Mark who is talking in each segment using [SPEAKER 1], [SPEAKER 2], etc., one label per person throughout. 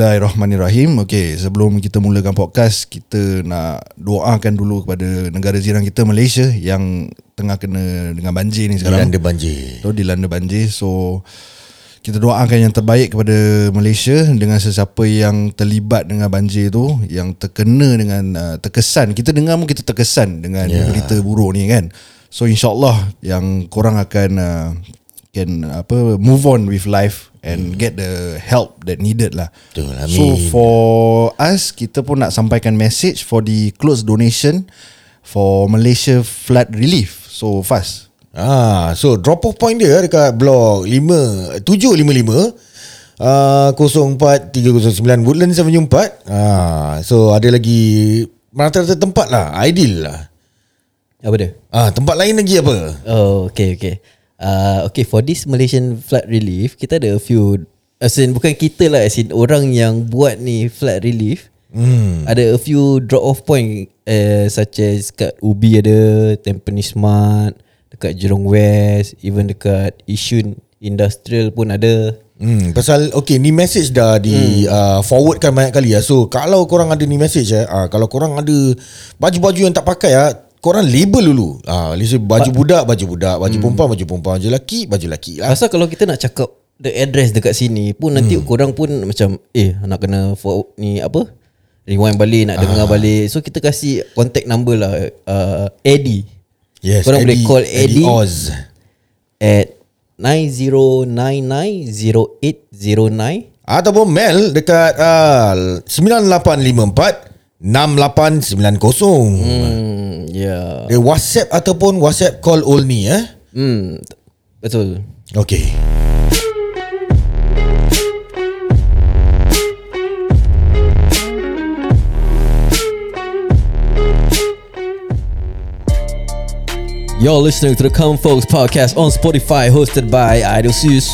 [SPEAKER 1] Bismillahirrahmanirrahim. Okey, sebelum kita mulakan podcast, kita nak doakan dulu kepada negara jiran kita Malaysia yang tengah kena dengan banjir ni sekarang.
[SPEAKER 2] Dilanda banjir
[SPEAKER 1] Dilanda. Dilanda banjir. So kita doakan yang terbaik kepada Malaysia dengan sesiapa yang terlibat dengan banjir tu, yang terkena dengan uh, terkesan. Kita dengar pun kita terkesan dengan yeah.
[SPEAKER 2] Ya.
[SPEAKER 1] berita buruk ni kan. So insyaallah yang korang akan uh, can apa move on with life and get the help that needed lah.
[SPEAKER 2] Ya. Betul, amin.
[SPEAKER 1] So for us kita pun nak sampaikan message for the close donation for Malaysia flood relief. So fast.
[SPEAKER 2] Ah, so drop off point dia dekat blok 5 755 Uh, 04309 Woodland 714 ah, So ada lagi Merata-rata tempat lah Ideal lah
[SPEAKER 3] Apa dia?
[SPEAKER 2] ah, Tempat lain lagi apa
[SPEAKER 3] Oh, okay, okay. Uh, okay, for this Malaysian flood relief, kita ada a few, as in, bukan kita lah, as in orang yang buat ni flood relief, hmm. ada a few drop off point uh, such as kat Ubi ada, Tampines Mart, dekat Jurong West, even dekat Yishun Industrial pun ada.
[SPEAKER 2] Hmm, pasal okay ni message dah di hmm. uh, forwardkan banyak kali ya. So kalau korang ada ni message eh, uh, kalau korang ada baju-baju yang tak pakai ah, korang label dulu. Ah, uh, baju budak, baju budak, baju hmm. perempuan, baju perempuan, baju lelaki, baju lelaki lah.
[SPEAKER 3] Pasal kalau kita nak cakap the address dekat sini pun nanti hmm. korang pun macam eh nak kena for, ni apa rewind balik nak dengar balik. So kita kasih contact number lah uh, Eddie
[SPEAKER 2] Yes,
[SPEAKER 3] korang boleh call Eddie.
[SPEAKER 2] Oz.
[SPEAKER 3] at 90990809.
[SPEAKER 2] Ataupun mail dekat uh, 9854 6890. Hmm.
[SPEAKER 3] Hmm ya. Yeah.
[SPEAKER 2] Dia WhatsApp ataupun WhatsApp call only eh.
[SPEAKER 3] Hmm t- betul.
[SPEAKER 2] Okay.
[SPEAKER 3] You're listening to the Come Folks podcast on Spotify hosted by Idosus.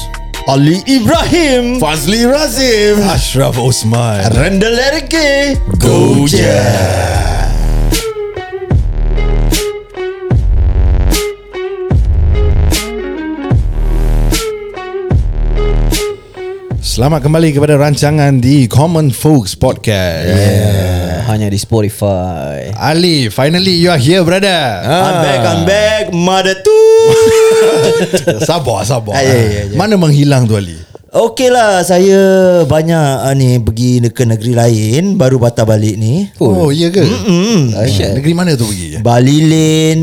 [SPEAKER 2] Ali Ibrahim Fazli Razif
[SPEAKER 1] Ashraf Osman.
[SPEAKER 2] Rendel Erke Go je
[SPEAKER 1] Selamat kembali kepada rancangan di Common Folks Podcast.
[SPEAKER 3] Uh, hanya di Spotify.
[SPEAKER 1] Ali, finally you are here
[SPEAKER 3] Ah.
[SPEAKER 1] brother.
[SPEAKER 4] I'm back, I'm back. Mother tu.
[SPEAKER 1] sabar, sabar.
[SPEAKER 4] Ah, ya, ya, ya.
[SPEAKER 1] Mana menghilang tu Ali?
[SPEAKER 4] Okey lah, saya banyak ah, ni pergi ne- ke negeri lain, baru patah balik ni.
[SPEAKER 1] Oh, iya ke? Ah, Negeri mana tu pergi?
[SPEAKER 4] Bali Lane.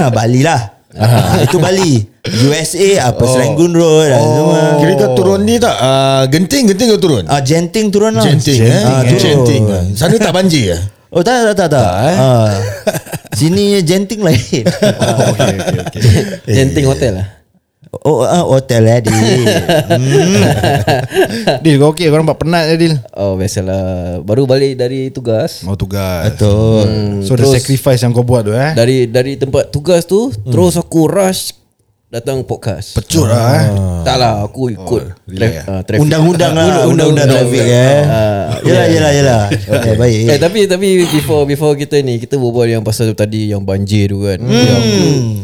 [SPEAKER 4] Ah, Bali lah. Ah, itu Bali. USA apa Serangoon Road oh. semua.
[SPEAKER 2] Kira kau turun ni tak uh, Genting Genting kau turun
[SPEAKER 4] Ah, Genting turun lah.
[SPEAKER 2] Genting eh?
[SPEAKER 4] ah,
[SPEAKER 2] Ah,
[SPEAKER 4] turun.
[SPEAKER 2] Genting eh. Sana tak banjir ya?
[SPEAKER 4] Oh tak tak tak. tak.
[SPEAKER 2] eh?
[SPEAKER 4] Ah. Sini Genting lain. Ah,
[SPEAKER 1] Oh, okay, okay, okay.
[SPEAKER 3] Genting Hotel lah.
[SPEAKER 4] Oh, ah, hotel eh dia.
[SPEAKER 1] Dil, kau okay? Kau nampak penat ya, Dil?
[SPEAKER 3] Oh biasalah Baru balik dari tugas
[SPEAKER 1] Mau tugas. Betul. So, the
[SPEAKER 3] terus-
[SPEAKER 1] sacrifice yang kau buat tu eh?
[SPEAKER 3] Dari dari tempat tugas tu hmm. Terus aku rush Datang podcast
[SPEAKER 1] Pecut lah eh.
[SPEAKER 3] Tak lah aku ikut oh,
[SPEAKER 1] relax
[SPEAKER 3] uh, traffic.
[SPEAKER 4] Ah. Undang-undang lah Undang-undang traffic eh
[SPEAKER 3] Ah,
[SPEAKER 4] Yelah yelah yelah Okay baik
[SPEAKER 3] Eh tapi tapi before before kita ni kita berbual yang pasal tadi yang banjir tu kan. Hmm. Yang,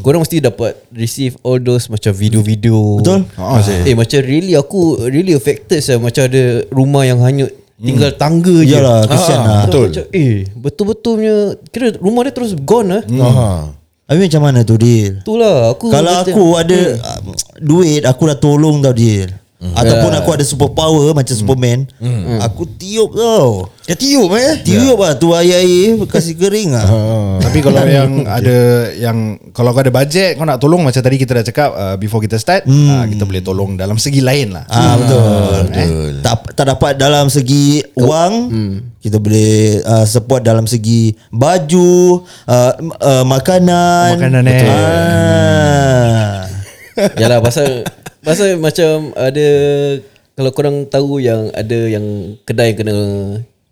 [SPEAKER 3] korang mesti dapat receive all those macam video-video.
[SPEAKER 4] Betul. Ah,
[SPEAKER 1] Ha, saya.
[SPEAKER 3] Eh macam really aku really affected saya macam ada rumah yang hanyut tinggal tangga je.
[SPEAKER 4] Hmm. Yalah, kesian
[SPEAKER 3] Ah,
[SPEAKER 4] lah.
[SPEAKER 3] Betul. Macam, eh betul-betul punya kira rumah dia terus gone lah. Hmm.
[SPEAKER 2] Aha.
[SPEAKER 4] Habis macam mana tu Dil
[SPEAKER 3] Itulah aku
[SPEAKER 4] Kalau
[SPEAKER 3] macam-
[SPEAKER 4] aku ada ah, Duit Aku dah tolong tau Dil Ataupun aku ada super power Macam Superman Aku tiup tau
[SPEAKER 2] Kau tiup eh
[SPEAKER 4] Tiup lah tu air-air Kasih kering lah
[SPEAKER 1] Ah. Tapi kalau yang ada yang kalau kau ada bajet kau nak tolong macam tadi kita dah cakap uh, before kita start uh, kita boleh tolong dalam segi lain lah.
[SPEAKER 4] Ah betul. Eh, tak tak dapat dalam segi wang
[SPEAKER 2] Hmm.
[SPEAKER 4] kita boleh uh, support dalam segi baju, uh, m- uh, makanan.
[SPEAKER 1] Makanan, eh.
[SPEAKER 4] Betul. Ah.
[SPEAKER 3] Yalah Ya lah, pasal pasal macam ada kalau korang tahu yang ada yang kedai yang kena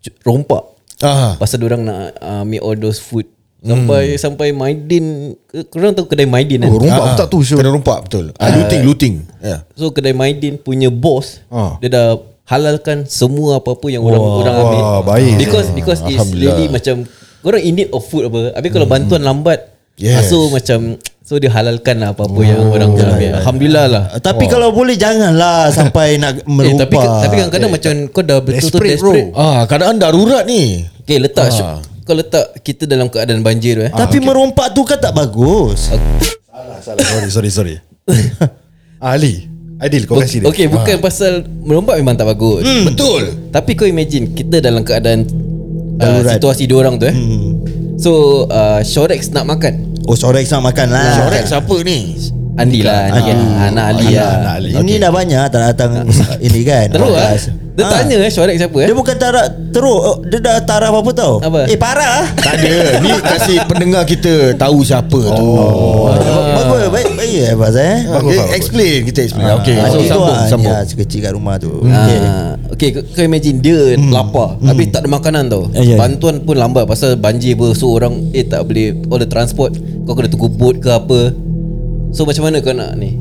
[SPEAKER 3] cu- rompak
[SPEAKER 2] Aha.
[SPEAKER 3] pasal orang nak uh, make all those food sampai sampai Maidin eh, korang tahu kedai Maidin kan?
[SPEAKER 1] Hmm. Oh, rumpak
[SPEAKER 2] Ah,
[SPEAKER 1] aku tak tu sure.
[SPEAKER 2] Kena rompak betul Ah, Looting looting Ya.
[SPEAKER 3] So kedai Maidin punya boss
[SPEAKER 1] Ah.
[SPEAKER 3] dia dah halalkan semua apa-apa yang orang orang ambil.
[SPEAKER 1] wah, baik.
[SPEAKER 3] Because because it's
[SPEAKER 2] Alhamdulillah.
[SPEAKER 1] Hmm.
[SPEAKER 3] really macam korang in need of food apa. Habis kalau bantuan lambat
[SPEAKER 2] Yes.
[SPEAKER 3] ah, So macam So dia halalkan lah apa-apa yang orang jual ambil. Alhamdulillah lah.
[SPEAKER 4] Ah, Tapi wow. kalau boleh janganlah sampai nak
[SPEAKER 3] Eh,
[SPEAKER 4] merubah.
[SPEAKER 3] tapi tapi kadang-kadang macam kau dah betul-betul
[SPEAKER 1] Desperate, bro.
[SPEAKER 3] desperate.
[SPEAKER 2] Ah, keadaan darurat ni.
[SPEAKER 3] Okay letak ha. Kau letak kita dalam keadaan banjir tu eh.
[SPEAKER 4] tapi okay. merompak tu kan tak bagus.
[SPEAKER 1] Salah, salah. Sorry, sorry, sorry. ah, Ali, Adil kau
[SPEAKER 3] Okay,
[SPEAKER 1] kasih dia.
[SPEAKER 3] okay bukan pasal merompak memang tak bagus. Hmm.
[SPEAKER 2] Betul.
[SPEAKER 3] Tapi kau imagine kita dalam keadaan uh,
[SPEAKER 4] Darurat.
[SPEAKER 3] situasi diorang tu eh. Hmm. So uh, Shorex nak makan.
[SPEAKER 4] Oh, sorak nak makan lah.
[SPEAKER 2] Correct siapa ni?
[SPEAKER 3] Andi lah Andi ah. Anak Ali lah.
[SPEAKER 1] anak Ali.
[SPEAKER 4] Ini dah banyak tak datang ini kan.
[SPEAKER 3] Teruk lah.
[SPEAKER 4] podcast.
[SPEAKER 3] Dia
[SPEAKER 4] Ah.
[SPEAKER 3] tanya eh Shorex siapa eh.
[SPEAKER 4] Dia bukan taraf teruk, oh, dia dah taraf apa tau?
[SPEAKER 3] Apa?
[SPEAKER 4] Eh parah.
[SPEAKER 2] Tak ada. Ni kasih pendengar kita tahu siapa tu. Oh.
[SPEAKER 4] Ba- Bagus baik baik eh Abaz eh.
[SPEAKER 1] Bagus, bagus.
[SPEAKER 2] Okay, Ah, explain kita explain. Okay,
[SPEAKER 4] Ah,
[SPEAKER 2] so
[SPEAKER 4] itu
[SPEAKER 2] sambung Ya,
[SPEAKER 4] ah,
[SPEAKER 2] sambung.
[SPEAKER 4] dia sekecil kat rumah tu.
[SPEAKER 3] Okay.
[SPEAKER 4] Ah.
[SPEAKER 3] okay kau, kau imagine dia hmm. lapar hmm. Habis tak ada makanan tau
[SPEAKER 4] Eh, ya.
[SPEAKER 3] Bantuan pun lambat Pasal banjir apa So orang Eh tak boleh All the transport Kau kena tunggu boat ke apa So macam mana kau nak ni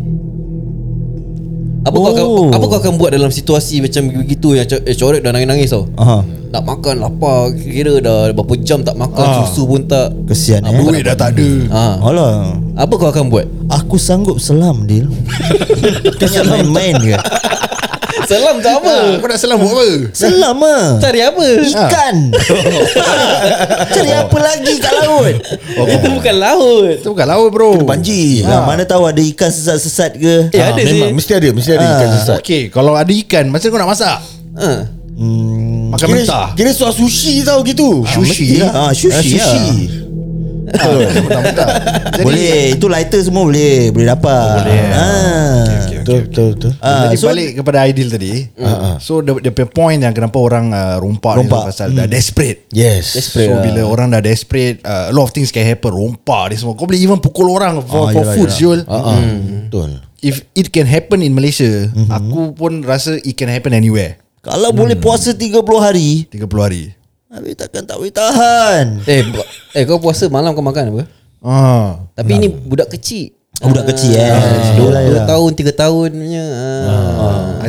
[SPEAKER 3] Apa oh. kau akan
[SPEAKER 4] Oh.
[SPEAKER 3] Apa kau akan buat dalam situasi Macam begitu Yang co- eh, corak dah nangis-nangis tau
[SPEAKER 4] Aha.
[SPEAKER 3] Nak makan lapar Kira dah berapa jam tak makan Susu pun tak
[SPEAKER 4] Ah. Kesian eh.
[SPEAKER 1] Duit dah tak ada.
[SPEAKER 3] ha.
[SPEAKER 4] Alah.
[SPEAKER 3] Apa kau akan buat
[SPEAKER 4] Aku sanggup selam Dil Kau main-main ke
[SPEAKER 3] Selam tak apa
[SPEAKER 1] Ah, Kau nak selam buat apa?
[SPEAKER 4] Selam ah.
[SPEAKER 3] Cari apa
[SPEAKER 4] Ikan Cari apa lagi kat laut
[SPEAKER 1] Oh,
[SPEAKER 4] Ah.
[SPEAKER 3] Itu bukan laut
[SPEAKER 1] Itu bukan laut bro.
[SPEAKER 2] Banjir.
[SPEAKER 4] ha. Mana tahu ada ikan sesat-sesat ke
[SPEAKER 3] Eh ada
[SPEAKER 2] Ya, memang
[SPEAKER 3] sih
[SPEAKER 2] mesti ada, Ah. mesti ada ikan sesat.
[SPEAKER 1] Ah, Okay, kalau ada ikan, macam kau nak masak?
[SPEAKER 3] ha.
[SPEAKER 4] Hmm.
[SPEAKER 1] Makan
[SPEAKER 2] Kira,
[SPEAKER 1] mentah.
[SPEAKER 2] kira soal sushi tau gitu.
[SPEAKER 1] Sushi.
[SPEAKER 4] mestilah. Ah, sushi
[SPEAKER 2] Ah, sushi.
[SPEAKER 1] Ah, makan mentah-mentah. Jadi-
[SPEAKER 4] Boleh Itu lighter semua boleh Boleh dapat oh, Boleh ha.
[SPEAKER 1] Okay, okay.
[SPEAKER 2] Betul betul betul.
[SPEAKER 4] Ah,
[SPEAKER 1] Jadi
[SPEAKER 4] so- Mm.
[SPEAKER 1] balik kepada Aidil tadi Ah, So the, the point yang kenapa orang uh, rompak, ni
[SPEAKER 4] Rompak. Mm.
[SPEAKER 1] tu
[SPEAKER 4] ah.
[SPEAKER 1] Pasal dah desperate
[SPEAKER 2] Yes.
[SPEAKER 1] So bila orang dah desperate uh, A lot of things can happen Rompak ni semua Kau boleh even pukul orang For,
[SPEAKER 4] Ah,
[SPEAKER 1] for
[SPEAKER 4] yelah,
[SPEAKER 1] food
[SPEAKER 4] yelah.
[SPEAKER 1] Syul
[SPEAKER 2] Ah, ah. Betul.
[SPEAKER 1] If it can happen in Malaysia
[SPEAKER 4] Mm-hmm.
[SPEAKER 1] Aku pun rasa It can happen anywhere
[SPEAKER 4] Kalau
[SPEAKER 1] Hmm.
[SPEAKER 4] boleh puasa 30 hari
[SPEAKER 1] 30 hari
[SPEAKER 4] Habis takkan tak boleh tahan
[SPEAKER 3] Eh, bu- eh kau puasa malam kau makan apa?
[SPEAKER 1] Ah,
[SPEAKER 3] Tapi ini budak kecil.
[SPEAKER 4] Oh, budak kecil, eh.
[SPEAKER 3] Ah, Dua
[SPEAKER 4] Yelah,
[SPEAKER 3] dua
[SPEAKER 4] yelah.
[SPEAKER 3] tahun, tiga tahun punya. Ah. Hmm.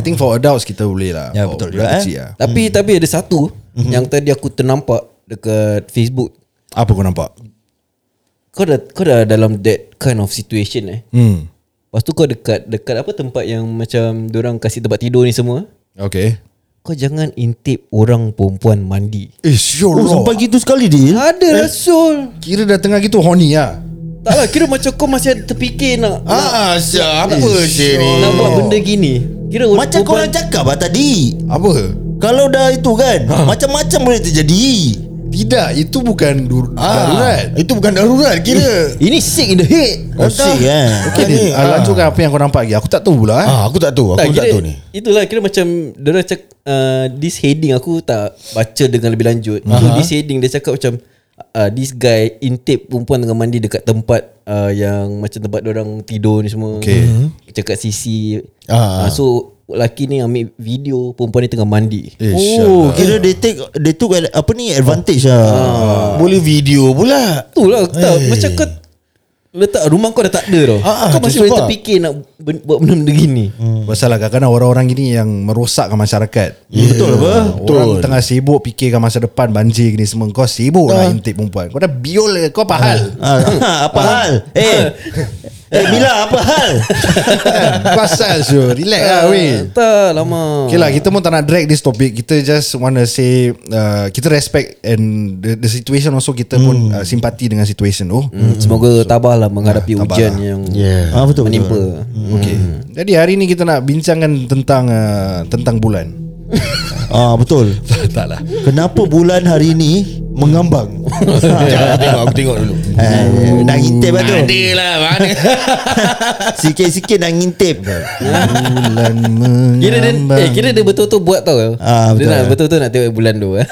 [SPEAKER 1] I think for adults Kita boleh lah
[SPEAKER 4] Ya,
[SPEAKER 1] For budak
[SPEAKER 4] betul juga, eh.
[SPEAKER 1] kecil lah.
[SPEAKER 3] Tapi tapi ada satu yang tadi aku ternampak dekat Facebook.
[SPEAKER 1] Apa kau nampak?
[SPEAKER 3] Kau dah kau dah dalam that kind of situation eh.
[SPEAKER 1] Hmm.
[SPEAKER 3] Lepas tu kau dekat dekat apa tempat yang macam orang kasih tempat tidur ni semua.
[SPEAKER 1] Okay
[SPEAKER 3] Kau jangan intip orang perempuan mandi.
[SPEAKER 1] Eh sure
[SPEAKER 4] Oh,
[SPEAKER 1] oh,
[SPEAKER 4] sampai gitu sekali Dil
[SPEAKER 2] Ah,
[SPEAKER 3] Ada Rasul.
[SPEAKER 1] Kira dah tengah gitu horny lah
[SPEAKER 3] Taklah kira macam kau masih ada terfikir nak
[SPEAKER 2] Ah,
[SPEAKER 1] Ya,
[SPEAKER 2] siapa je ni?
[SPEAKER 3] nak buat benda gini. Kira orang
[SPEAKER 4] Macam
[SPEAKER 3] perempuan-
[SPEAKER 4] korang cakap lah tadi
[SPEAKER 1] Apa?
[SPEAKER 4] Kalau dah itu kan
[SPEAKER 2] Ha.
[SPEAKER 4] Macam-macam boleh terjadi
[SPEAKER 1] Tidak Itu bukan dur-
[SPEAKER 2] Ah,
[SPEAKER 1] darurat
[SPEAKER 2] itu bukan darurat kira.
[SPEAKER 3] ini sick in the head.
[SPEAKER 2] Oh,
[SPEAKER 4] Osik kan
[SPEAKER 1] Okay, ni, ah.
[SPEAKER 2] Ah.
[SPEAKER 1] lanjutkan apa yang kau nampak lagi Aku tak tahu pula eh.
[SPEAKER 2] Ah, aku tak tahu, aku tak, tahu ni.
[SPEAKER 3] Itulah kira macam Diorang cak uh, This heading aku tak Baca dengan lebih lanjut uh-huh. So this heading dia cakap macam uh, This guy Intake perempuan tengah mandi Dekat tempat uh, Yang macam tempat orang tidur ni semua
[SPEAKER 1] Okay.
[SPEAKER 3] Mhm. Cakap sisi
[SPEAKER 2] Ah.
[SPEAKER 3] uh. uh, So Lelaki ni ambil video Perempuan ni tengah mandi
[SPEAKER 1] Eh,
[SPEAKER 4] Oh, kira they take they took ad- apa ni advantage ah.
[SPEAKER 2] Boleh video pula.
[SPEAKER 3] Itulah aku tahu Macam kau Letak rumah kau dah tak ada tau
[SPEAKER 2] Eh. Ah, ah, tu
[SPEAKER 3] Kau masih boleh
[SPEAKER 2] sebab.
[SPEAKER 3] terfikir Nak ben- buat benda-benda gini
[SPEAKER 1] Hmm. Pasal lah kadang-kadang orang-orang gini yang merosakkan masyarakat.
[SPEAKER 4] Yeah. Betul apa?
[SPEAKER 1] Orang tengah sibuk fikirkan masa depan banjir ni semua. Kau sibuk lah intip perempuan. Kau dah biol ke, kau apa hal?
[SPEAKER 4] Ah, apa hal? Eh. eh bila apa hal?
[SPEAKER 1] Kan? Kau asal sure.
[SPEAKER 2] Eh,
[SPEAKER 1] Relax
[SPEAKER 3] Ah.
[SPEAKER 2] ah,
[SPEAKER 1] lah weh.
[SPEAKER 3] Tak lama
[SPEAKER 1] Okay lah kita pun tak nak drag this topic Kita just wanna say uh, Kita respect and the, the situation also Kita pun uh, simpati dengan situation tu
[SPEAKER 3] Hmm, Semoga tabahlah menghadapi
[SPEAKER 1] tabah
[SPEAKER 3] hujan
[SPEAKER 1] lah.
[SPEAKER 3] yang
[SPEAKER 2] Yeah.
[SPEAKER 4] Ah betul
[SPEAKER 3] menimpa. Hmm.
[SPEAKER 4] betul.
[SPEAKER 1] Okay Jadi hari ni kita nak bincangkan tentang uh, Tentang bulan
[SPEAKER 4] Ah betul.
[SPEAKER 1] Tak lah
[SPEAKER 4] Kenapa bulan hari ni mengambang?
[SPEAKER 2] Jangan tengok, aku tengok dulu.
[SPEAKER 4] Eh, dah ngintip lah tu.
[SPEAKER 2] lah mana.
[SPEAKER 4] Sikit-sikit dah ngintip.
[SPEAKER 1] Bulan
[SPEAKER 3] Kira dia,
[SPEAKER 1] mengambang
[SPEAKER 3] eh, kira dia betul-betul buat tau.
[SPEAKER 4] Ah, betul.
[SPEAKER 3] Dia nak betul-betul nak tengok bulan tu. eh.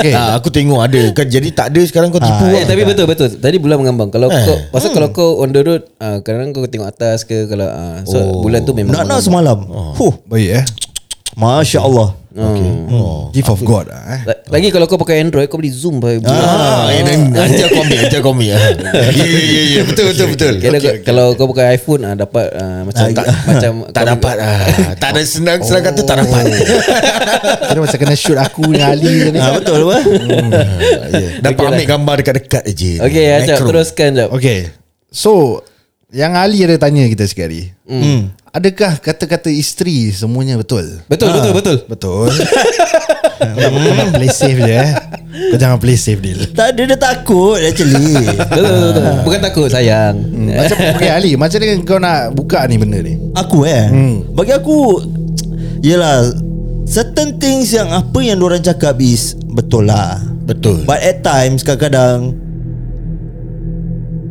[SPEAKER 1] Okay
[SPEAKER 2] Ah, aku tengok ada. Kan jadi tak ada sekarang kau tipu.
[SPEAKER 3] eh,
[SPEAKER 2] lah.
[SPEAKER 3] tapi betul betul. Tadi bulan mengambang. Kalau kau pasal kalau kau on the road, ah, kadang kau tengok atas ke kalau ah, so bulan tu memang.
[SPEAKER 4] Nak nak Oh. semalam.
[SPEAKER 2] Oh.
[SPEAKER 4] Huh,
[SPEAKER 1] Baik eh
[SPEAKER 4] masya-Allah.
[SPEAKER 3] Okay.
[SPEAKER 1] Gift of God lah eh
[SPEAKER 3] Lagi kalau kau pakai Android kau boleh zoom pakai bulan.
[SPEAKER 2] Ah, ya, dan nanti aku ambil, nanti aku ambil. Ya, ya, ya, ya, betul, betul, betul.
[SPEAKER 3] Kira kau- kalau kau pakai iPhone ah dapat ah, macam tak, macam
[SPEAKER 2] Tak
[SPEAKER 3] kau-
[SPEAKER 2] dapat Oh. ah. Tak ada senang senang kata tak dapat.
[SPEAKER 1] Kira macam kena shoot aku dengan Ali tadi
[SPEAKER 4] Ah betul apa?
[SPEAKER 2] Hmm. Dapat ambil Ya, gambar dekat-dekat aje.
[SPEAKER 3] Okay, Acap
[SPEAKER 2] Macro.
[SPEAKER 3] teruskan jap.
[SPEAKER 1] Okay So Yang Ali ada tanya kita sekali. Hmm. Adakah kata-kata isteri semuanya betul?
[SPEAKER 3] Betul ha. betul betul.
[SPEAKER 1] Betul. kau, nak, kau nak play safe je eh. Kau jangan play safe deal.
[SPEAKER 4] Tak dia dah takut actually.
[SPEAKER 3] Betul betul betul. Bukan takut sayang.
[SPEAKER 1] Macam okay, Ali, macam mana kau nak buka ni benda ni?
[SPEAKER 4] Aku eh hmm. Bagi aku Yelah Certain things yang Apa yang diorang cakap is Betul lah
[SPEAKER 2] Betul.
[SPEAKER 4] But at times Kadang-kadang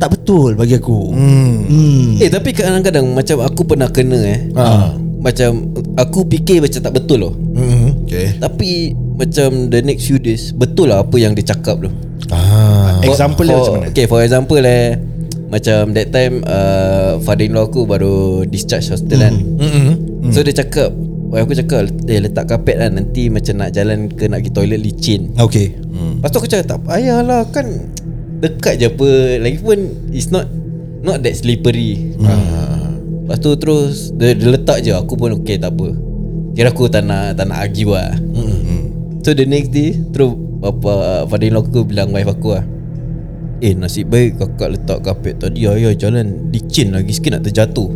[SPEAKER 4] Tak betul bagi aku hmm.
[SPEAKER 3] Eh tapi kadang-kadang macam aku pernah kena eh. Ha. Macam aku fikir macam tak betul loh.
[SPEAKER 1] Okay.
[SPEAKER 3] Tapi macam the next few days betul lah apa yang dia cakap tu.
[SPEAKER 2] Ah.
[SPEAKER 3] For-
[SPEAKER 1] Ha. Example dia
[SPEAKER 3] for,
[SPEAKER 1] macam mana?
[SPEAKER 3] Okay for example eh Macam that time uh, Father-in-law aku baru discharge hospital kan
[SPEAKER 1] Hmm.
[SPEAKER 3] mm. So dia cakap Wah aku cakap Eh letak kapet lah Nanti macam nak jalan ke Nak pergi toilet licin
[SPEAKER 4] Okay
[SPEAKER 3] Lepas tu aku cakap tak payahlah Kan dekat je apa Lagipun it's not Not that slippery Ah. Lepas tu terus dia, dia letak je Aku pun okay tak apa Kira aku tak nak Tak nak argue lah So the next day Terus Bapa Father-in-law aku bilang wife aku lah Eh nasib baik kakak letak kapet tadi Ayah jalan licin lagi sikit nak terjatuh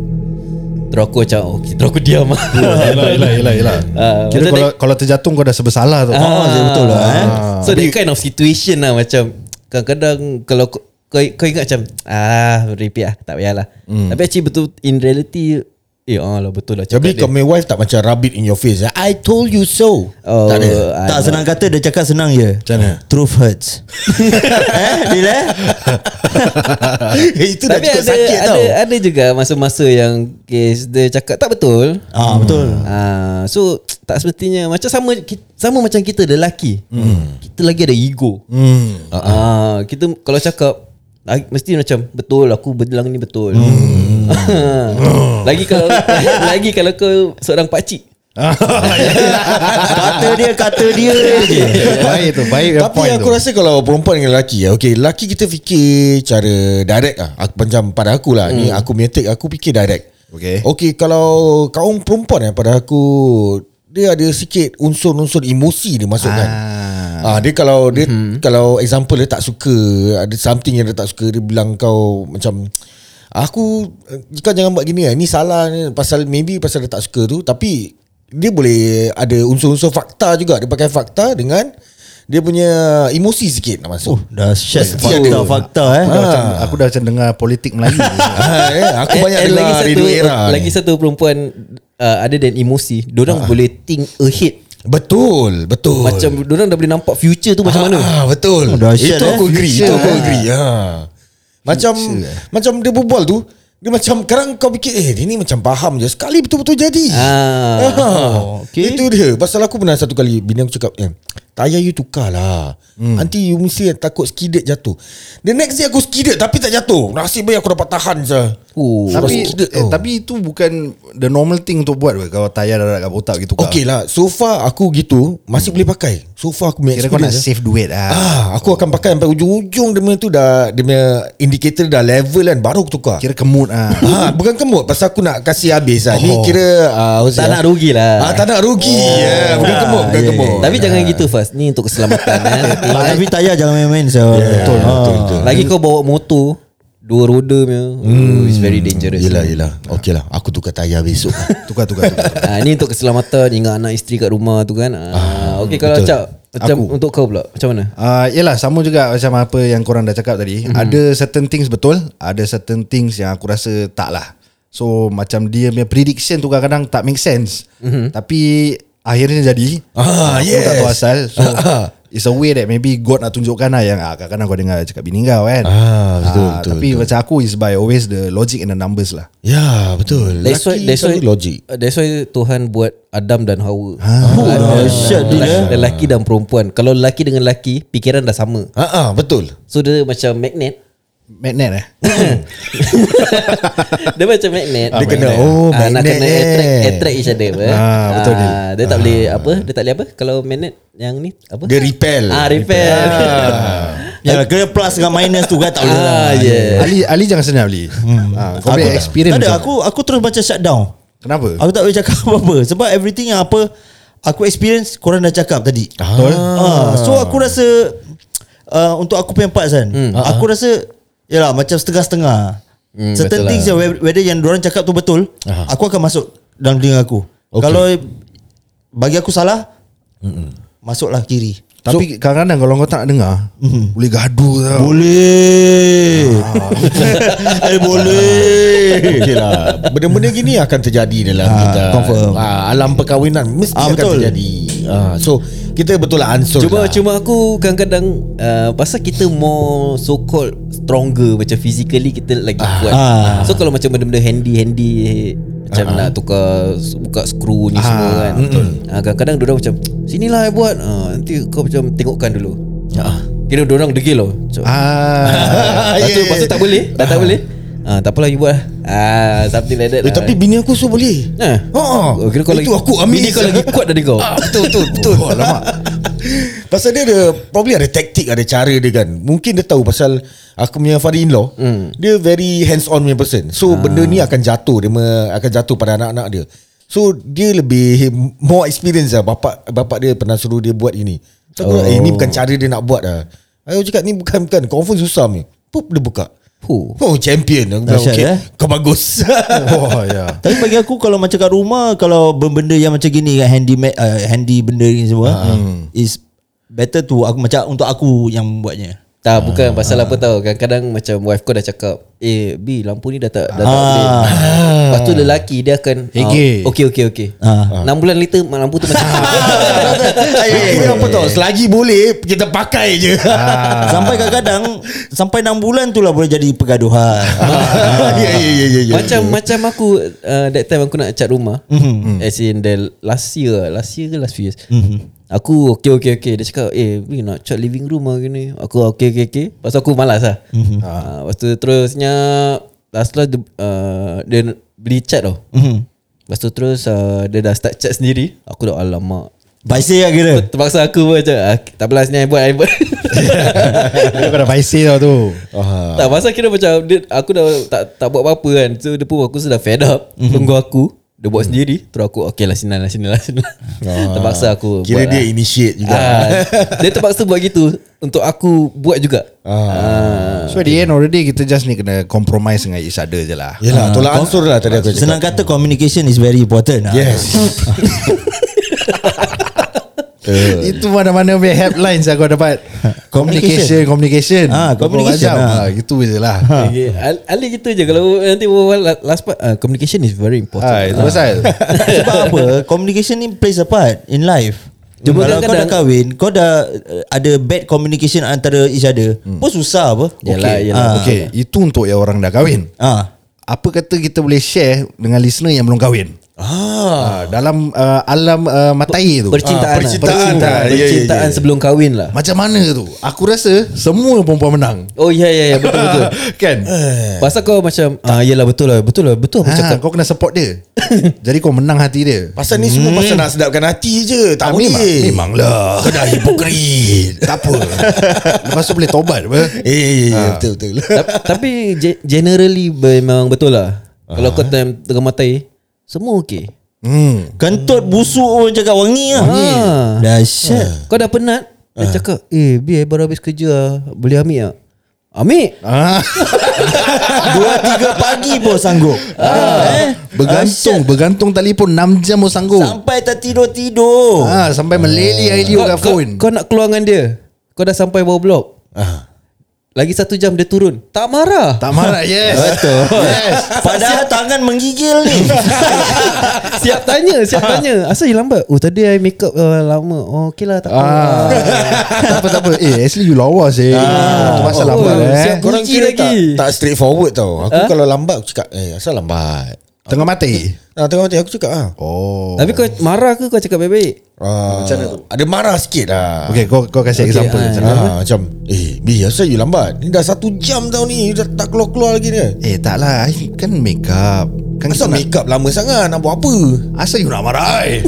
[SPEAKER 3] Terus aku macam okay, Terus aku diam lah
[SPEAKER 1] Yelah, yelah, yelah, yelah.
[SPEAKER 3] Ah,
[SPEAKER 1] Kira
[SPEAKER 3] macam
[SPEAKER 1] kalau, kalau terjatuh kau dah bersalah tu.
[SPEAKER 4] Ah, je betul lah, eh.
[SPEAKER 3] So that kind of situation lah macam kadang-kadang kalau kau, kau, kau ingat macam ah repeat lah tak payahlah. Mm. Tapi actually betul in reality eh ah lah betul lah
[SPEAKER 2] Tapi kau
[SPEAKER 3] cakap dia.
[SPEAKER 2] punya wife tak macam rabbit in your face. eh? I told you so.
[SPEAKER 3] Oh,
[SPEAKER 4] tak ada
[SPEAKER 3] ah,
[SPEAKER 4] Uh, Tak senang kata Dia cakap senang je
[SPEAKER 1] Macam mana?
[SPEAKER 4] Truth hurts Eh Dil eh
[SPEAKER 2] Itu dah
[SPEAKER 3] Tapi
[SPEAKER 2] cukup
[SPEAKER 3] ada,
[SPEAKER 2] sakit
[SPEAKER 3] ada,
[SPEAKER 2] tau.
[SPEAKER 3] ada juga masa-masa yang case dia cakap tak betul.
[SPEAKER 4] Ah betul
[SPEAKER 3] Ah, so tak semestinya macam sama ki- sama macam kita lelaki. Mm. Kita lagi ada ego.
[SPEAKER 1] Hmm.
[SPEAKER 3] Ah, kita kalau cakap ah, mesti macam betul aku berlang ni betul.
[SPEAKER 2] Hmm.
[SPEAKER 3] lagi kalau lagi kalau kau seorang pakcik
[SPEAKER 4] Kata dia Kata dia je
[SPEAKER 1] baik tu, baik punya
[SPEAKER 2] Tapi
[SPEAKER 1] point
[SPEAKER 2] aku
[SPEAKER 1] tu.
[SPEAKER 2] rasa kalau perempuan dengan lelaki Okay lelaki kita fikir Cara direct lah aku, Macam pada aku lah Ni aku punya take Aku fikir direct
[SPEAKER 1] Okay.
[SPEAKER 2] Okay kalau Kaum perempuan eh Pada aku Dia ada sikit Unsur-unsur emosi dia
[SPEAKER 1] kan?
[SPEAKER 2] masukkan ah. Ah, Dia kalau dia
[SPEAKER 3] Mhm.
[SPEAKER 2] hmm Kalau example dia tak suka Ada something yang dia tak suka Dia bilang kau Macam Aku eh, Kau jangan buat gini lah Ni salah ni Pasal maybe Pasal dia tak suka tu Tapi Dia boleh Ada unsur-unsur fakta juga Dia pakai fakta dengan Dia punya Emosi sikit nak
[SPEAKER 3] Oh.
[SPEAKER 2] masuk
[SPEAKER 4] Oh, Dah share
[SPEAKER 2] Mesti ada.
[SPEAKER 4] fakta-fakta eh
[SPEAKER 1] Aku dah, macam, aku dah macam dengar politik Melayu.
[SPEAKER 2] Ah, eh, Aku
[SPEAKER 3] And-
[SPEAKER 2] banyak
[SPEAKER 3] and
[SPEAKER 2] dengar Radio Era ni.
[SPEAKER 3] lagi satu perempuan uh, other than emosi orang boleh think ahead
[SPEAKER 2] Betul Betul
[SPEAKER 3] macam orang dah boleh nampak future tu macam mana
[SPEAKER 2] Ah, betul.
[SPEAKER 4] Oh, dahsyat,
[SPEAKER 2] itu
[SPEAKER 4] eh.
[SPEAKER 2] aku agree,
[SPEAKER 4] Future,
[SPEAKER 2] itu aku
[SPEAKER 4] eh.
[SPEAKER 2] agree. Ha. Macam macam dia berbual tu, dia macam kadang kau fikir eh dia ni macam faham je sekali betul-betul jadi.
[SPEAKER 3] Ah.
[SPEAKER 2] Oh, okay. Itu dia. Pasal aku pernah satu kali bini aku cakap, "Eh, tayar you tukar lah. Hmm. Nanti you mesti takut skidded jatuh." The next day aku skidded tapi tak jatuh. Nasib baik aku dapat tahan je.
[SPEAKER 3] Oh.
[SPEAKER 1] tapi
[SPEAKER 2] Skidded
[SPEAKER 1] eh,
[SPEAKER 2] tau.
[SPEAKER 1] tapi itu bukan the normal thing untuk buat apa? Kau tayar darat kat otak gitu
[SPEAKER 2] Okay lah So far aku gitu Masih boleh pakai So far aku punya
[SPEAKER 1] Kira kau nak
[SPEAKER 2] experience, eh.
[SPEAKER 1] save duit ah.
[SPEAKER 2] Ah, aku akan pakai sampai ujung-ujung dia punya tu dah dia punya indicator dah level kan baru aku tukar.
[SPEAKER 1] Kira kemut ah.
[SPEAKER 2] Ha, bukan kemut pasal aku nak kasih habis lah. Ni
[SPEAKER 1] Oh.
[SPEAKER 2] kira ah, apa
[SPEAKER 3] tak
[SPEAKER 2] saya-
[SPEAKER 3] nak lah. rugilah
[SPEAKER 2] Ah, tak nak rugi. Oh. Yeah,
[SPEAKER 3] Ah,
[SPEAKER 2] bukan kemut, bukan
[SPEAKER 4] yeah,
[SPEAKER 2] kemut.
[SPEAKER 3] ya,
[SPEAKER 2] Ya,
[SPEAKER 3] tapi jangan gitu fast ni untuk keselamatan
[SPEAKER 4] Ah.
[SPEAKER 3] eh.
[SPEAKER 4] Tak, Tapi tayar jangan main-main so. Betul
[SPEAKER 2] betul, betul.
[SPEAKER 3] lagi kau bawa motor dua roda punya hmm. it's very dangerous
[SPEAKER 2] Yelah, yelah. Okey lah, aku tukar tayar besok.
[SPEAKER 1] Tukar tukar tukar.
[SPEAKER 3] Ah ni untuk keselamatan ingat anak isteri kat rumah tu kan. Ah, okey kalau
[SPEAKER 2] betul.
[SPEAKER 3] cak macam
[SPEAKER 2] Aku.
[SPEAKER 3] untuk kau pula macam mana?
[SPEAKER 1] Uh, yelah sama juga macam apa yang korang dah cakap tadi
[SPEAKER 2] Mhm.
[SPEAKER 1] mm-hmm. Ada certain things betul Ada certain things yang aku rasa tak lah So macam dia punya prediction tu kadang-kadang tak make sense mm-hmm. Tapi akhirnya jadi
[SPEAKER 2] Mhm. Ah,
[SPEAKER 1] Aku tak tahu
[SPEAKER 2] yes. Ah.
[SPEAKER 1] asal So it's a way that maybe God nak tunjukkan lah Yang ah, kadang-kadang kau dengar cakap bini kau kan
[SPEAKER 2] Ah, betul, betul,
[SPEAKER 1] Tapi
[SPEAKER 2] betul.
[SPEAKER 1] macam aku is by always the logic and the numbers lah
[SPEAKER 2] ya, betul.
[SPEAKER 3] That's why
[SPEAKER 2] Lelaki
[SPEAKER 3] that's why uh,
[SPEAKER 2] selalu logik.
[SPEAKER 3] That's why Tuhan buat Adam dan Hawa. Ah,
[SPEAKER 4] dahsyat
[SPEAKER 3] lelaki,
[SPEAKER 4] dia.
[SPEAKER 3] lelaki dan perempuan. Kalau lelaki dengan lelaki pikiran dah sama.
[SPEAKER 2] Ha ah, betul.
[SPEAKER 3] So dia macam magnet.
[SPEAKER 1] Magnet eh
[SPEAKER 3] dia macam magnet.
[SPEAKER 2] Dia kena, oh,
[SPEAKER 3] Ah, nak
[SPEAKER 2] magnet
[SPEAKER 3] kena
[SPEAKER 2] eh.
[SPEAKER 3] attract, attract each other. apa.
[SPEAKER 1] Ah, betul dia.
[SPEAKER 3] Ah, dia tak boleh apa? Dia tak boleh apa? Kalau magnet yang ni apa?
[SPEAKER 2] Dia repel.
[SPEAKER 3] Ah, repel.
[SPEAKER 4] Ya kira plus dengan minus tu kan tak boleh
[SPEAKER 3] Ah,
[SPEAKER 4] lah
[SPEAKER 3] yeah.
[SPEAKER 1] Ali Ali jangan senang Ali
[SPEAKER 2] Hmm.
[SPEAKER 1] ah, Kau boleh experience
[SPEAKER 4] Tak ada
[SPEAKER 1] macam-
[SPEAKER 4] aku Aku terus macam shutdown
[SPEAKER 1] Kenapa?
[SPEAKER 4] Aku tak boleh cakap apa-apa Sebab everything yang apa Aku experience Korang dah cakap tadi
[SPEAKER 1] Betul?
[SPEAKER 4] ah. So aku rasa ah, Hmm. uh, Untuk aku punya part kan Aku rasa Yalah macam setengah-setengah mm, certain
[SPEAKER 3] betul lah.
[SPEAKER 4] things yang whe- whether yang orang cakap tu betul Aha. aku akan masuk dalam telinga aku okay. kalau bagi aku salah Mm-mm. masuklah kiri
[SPEAKER 1] Tapi so, kadang-kadang kalau kau tak nak dengar
[SPEAKER 2] Hmm.
[SPEAKER 1] mm-hmm. Boleh gaduh tau
[SPEAKER 2] Boleh Eh boleh okay lah. Benda-benda gini akan terjadi dalam
[SPEAKER 3] Ah,
[SPEAKER 2] ha, kita
[SPEAKER 4] confirm.
[SPEAKER 2] ha, Alam perkahwinan Mesti
[SPEAKER 4] Ah,
[SPEAKER 2] ha, akan
[SPEAKER 4] betul.
[SPEAKER 2] betul. terjadi ha, So kita betul lah answer lah.
[SPEAKER 3] Cuma cuma aku kadang-kadang uh, pasal kita more so called stronger macam physically kita lagi ah, kuat.
[SPEAKER 4] Ah.
[SPEAKER 3] Ah. So kalau macam benda-benda handy handy macam ah, nak tukar s- buka skru ni ah, semua kan. Betul. Ah, kadang-kadang dia macam sinilah I buat. Ah, nanti kau macam tengokkan dulu. Ah. Kira dia orang degil loh. Macam,
[SPEAKER 1] ah,
[SPEAKER 3] ah, lepas tu, lepas tu tak boleh, dah tak boleh. Ah, tak apalah you buat. lah. Ah, something like that.
[SPEAKER 2] eh,
[SPEAKER 3] lah.
[SPEAKER 2] Tapi bini aku so boleh
[SPEAKER 3] Nah.
[SPEAKER 2] Oh,
[SPEAKER 3] Oh, kira kau
[SPEAKER 2] itu
[SPEAKER 3] lagi,
[SPEAKER 2] aku ambil
[SPEAKER 3] Bini kau lagi kuat dari kau. betul betul betul. Oh, lama.
[SPEAKER 2] Pasal dia ada Probably ada taktik Ada cara dia kan Mungkin dia tahu Pasal Aku punya father-in-law mm. Dia very hands on punya person So ha. benda ni akan jatuh Dia me- akan jatuh pada anak-anak dia So dia lebih More experience lah Bapak, bapak dia pernah suruh dia buat ini So aku oh. eh, ini bukan cara dia nak buat lah Aku cakap ni bukan bukan Confirm susah ni Pup dia buka
[SPEAKER 3] Huh.
[SPEAKER 2] Oh champion Aku bilang,
[SPEAKER 4] Dahsyat,
[SPEAKER 2] okay,
[SPEAKER 4] eh?
[SPEAKER 2] Kau bagus
[SPEAKER 1] Oh ya
[SPEAKER 4] Tapi bagi aku kalau macam kat rumah kalau benda yang macam gini kan handy ma- uh, handy benda ni semua is better to aku macam untuk aku yang buatnya.
[SPEAKER 3] Tak bukan
[SPEAKER 4] Ah.
[SPEAKER 3] pasal apa tau Kadang-kadang macam wife kau dah cakap Eh B lampu ni dah tak dah tak
[SPEAKER 4] Ah.
[SPEAKER 3] boleh Lepas tu lelaki dia akan ah,
[SPEAKER 1] Hege.
[SPEAKER 3] Okay okay okay
[SPEAKER 4] Ah.
[SPEAKER 3] 6 bulan later lampu tu macam
[SPEAKER 2] Kira apa tau Selagi boleh Kita pakai je
[SPEAKER 4] Ah. Sampai kadang-kadang sampai 6 bulan tu lah boleh jadi pergaduhan. Ah.
[SPEAKER 2] Ya ya ya ya, ya Mhm.
[SPEAKER 3] Macam macam aku uh, That time aku nak cat rumah mm-hmm. As in the last year lah. Last year ke last few years
[SPEAKER 2] Mhm.
[SPEAKER 3] mm-hmm. Aku okay okay okay Dia cakap Eh B nak cat living room lah gini Aku okay okay okay Lepas tu aku malas lah
[SPEAKER 2] Mhm.
[SPEAKER 3] mm-hmm. uh, Lepas tu terusnya Last last dia, uh, dia beli cat tau mm-hmm.
[SPEAKER 2] Mhm.
[SPEAKER 3] Lepas tu terus uh, Dia dah start cat sendiri Aku dah alamak
[SPEAKER 4] Baisir
[SPEAKER 2] Eh.
[SPEAKER 4] lah kira.
[SPEAKER 3] Terpaksa aku pun macam ah, Tak apalah sini I buat I buat
[SPEAKER 1] Dia kena paisi tau tu
[SPEAKER 2] Ah.
[SPEAKER 3] Tak pasal kira macam dia, Aku dah tak tak buat apa-apa kan So dia pun aku sudah fed up
[SPEAKER 2] Mhm.
[SPEAKER 3] mm-hmm. Tunggu aku Dia buat sendiri Terus aku Okay lah sini lah sini lah sini lah Terpaksa
[SPEAKER 2] Ah.
[SPEAKER 3] aku
[SPEAKER 2] Kira
[SPEAKER 3] buat
[SPEAKER 2] dia
[SPEAKER 3] lah.
[SPEAKER 2] initiate juga
[SPEAKER 3] Ah, Dia terpaksa buat gitu Untuk aku buat juga ah.
[SPEAKER 1] So at the end of the day Kita just ni kena Compromise dengan each other je lah
[SPEAKER 2] Yelah tolak ansur lah tadi aku cakap
[SPEAKER 4] Senang kata communication is very important. lah.
[SPEAKER 2] Yes
[SPEAKER 1] Itu mana-mana punya helpline Saya kau dapat Communication
[SPEAKER 4] Communication.
[SPEAKER 1] Communication
[SPEAKER 4] Ah, communication,
[SPEAKER 1] Berapa macam.
[SPEAKER 4] ah.
[SPEAKER 1] Ah, Gitu je lah
[SPEAKER 3] Okay. Ah. Al- Alih gitu je Kalau nanti berbual last part uh, Communication is very important
[SPEAKER 1] Ah, Itu pasal
[SPEAKER 4] Sebab apa? Communication ni plays a part in life.
[SPEAKER 3] Cuma
[SPEAKER 4] Cuma kalau kau dah
[SPEAKER 3] kadang-kadang-
[SPEAKER 4] kahwin, kau dah uh, ada bad communication antara each other. Hmm. Pun susah apa?
[SPEAKER 3] Yalah,
[SPEAKER 4] Okay.
[SPEAKER 3] yalah.
[SPEAKER 4] Ah.
[SPEAKER 1] Okay Itu untuk yang orang dah kahwin
[SPEAKER 4] Ah.
[SPEAKER 1] Apa kata kita boleh share Dengan listener yang belum kahwin Ah, dalam uh, alam uh, matai tu
[SPEAKER 2] Ah,
[SPEAKER 3] Percintaan,
[SPEAKER 2] percintaan lah.
[SPEAKER 3] Percintaan,
[SPEAKER 2] Ya, ya, ya.
[SPEAKER 3] percintaan sebelum kahwin lah
[SPEAKER 1] Macam mana tu Aku rasa Semua perempuan menang
[SPEAKER 3] Oh ya ya ya betul betul
[SPEAKER 1] Kan
[SPEAKER 3] Pasal kau macam ah, Yelah betul lah Betul lah Betul aku
[SPEAKER 1] ha,
[SPEAKER 3] cakap
[SPEAKER 1] Kau kena support dia Jadi kau menang hati dia
[SPEAKER 2] Pasal ni semua pasal nak sedapkan hati je Tak
[SPEAKER 1] Hmm.
[SPEAKER 2] boleh
[SPEAKER 1] Ah, memang, Memanglah
[SPEAKER 2] Kau dah hipokrit
[SPEAKER 1] Tak apa Lepas tu boleh tobat apa
[SPEAKER 2] Eh ya ya
[SPEAKER 4] Ah.
[SPEAKER 2] ya betul-betul
[SPEAKER 3] Ta- Tapi ge- generally memang betul lah Kalau kau time tengah matai Semua okey
[SPEAKER 1] hmm.
[SPEAKER 4] Kentut busuk orang cakap wangi
[SPEAKER 1] Oh,
[SPEAKER 4] lah.
[SPEAKER 3] Ah.
[SPEAKER 4] Dahsyat.
[SPEAKER 3] Kau dah penat
[SPEAKER 1] Ah.
[SPEAKER 3] Dia cakap Eh B I baru habis kerja lah. Boleh ambil tak Ambil
[SPEAKER 1] ah,
[SPEAKER 4] Dua tiga pagi pun sanggup ah. eh?
[SPEAKER 1] Bergantung Bergantung telefon 6 jam pun sanggup
[SPEAKER 4] Sampai tak tidur-tidur
[SPEAKER 1] ha, Sampai meleli air dia kat
[SPEAKER 3] kau,
[SPEAKER 1] phone Ah.
[SPEAKER 3] kau nak keluar dengan dia Kau dah sampai bawah blok Lagi satu jam dia turun Tak marah
[SPEAKER 1] Tak marah yes Betul Yes
[SPEAKER 4] Padahal tangan menggigil ni
[SPEAKER 3] Siap tanya Siap
[SPEAKER 1] Ah.
[SPEAKER 3] tanya Asal you lambat Oh tadi I make up uh, lama Oh okay lah tak apa
[SPEAKER 1] Ah, tak apa tak apa. Eh actually you lawas eh. Ah, tu pasal
[SPEAKER 3] oh,
[SPEAKER 1] lambat eh.
[SPEAKER 3] siap.
[SPEAKER 2] Korang
[SPEAKER 3] Kunci
[SPEAKER 2] kira
[SPEAKER 3] lagi.
[SPEAKER 2] tak, tak straight forward tau Aku kalau lambat aku cakap Eh asal lambat
[SPEAKER 1] Tengah mati.
[SPEAKER 2] Nah, tengok mati aku cakap ah.
[SPEAKER 1] Oh.
[SPEAKER 3] Tapi kau marah ke kau cakap baik-baik
[SPEAKER 2] ah Ada marah sikit lah
[SPEAKER 1] Okay kau kau kasih okay, example
[SPEAKER 3] ah,
[SPEAKER 1] macam mana?
[SPEAKER 2] ah, Macam Eh B asal you lambat Ni dah satu jam tau ni you Dah tak keluar-keluar lagi ni
[SPEAKER 1] Eh tak lah I Kan make up kan kita
[SPEAKER 2] Asal
[SPEAKER 1] nak-
[SPEAKER 2] make up lama sangat Nak buat apa
[SPEAKER 1] Asal you nak marah I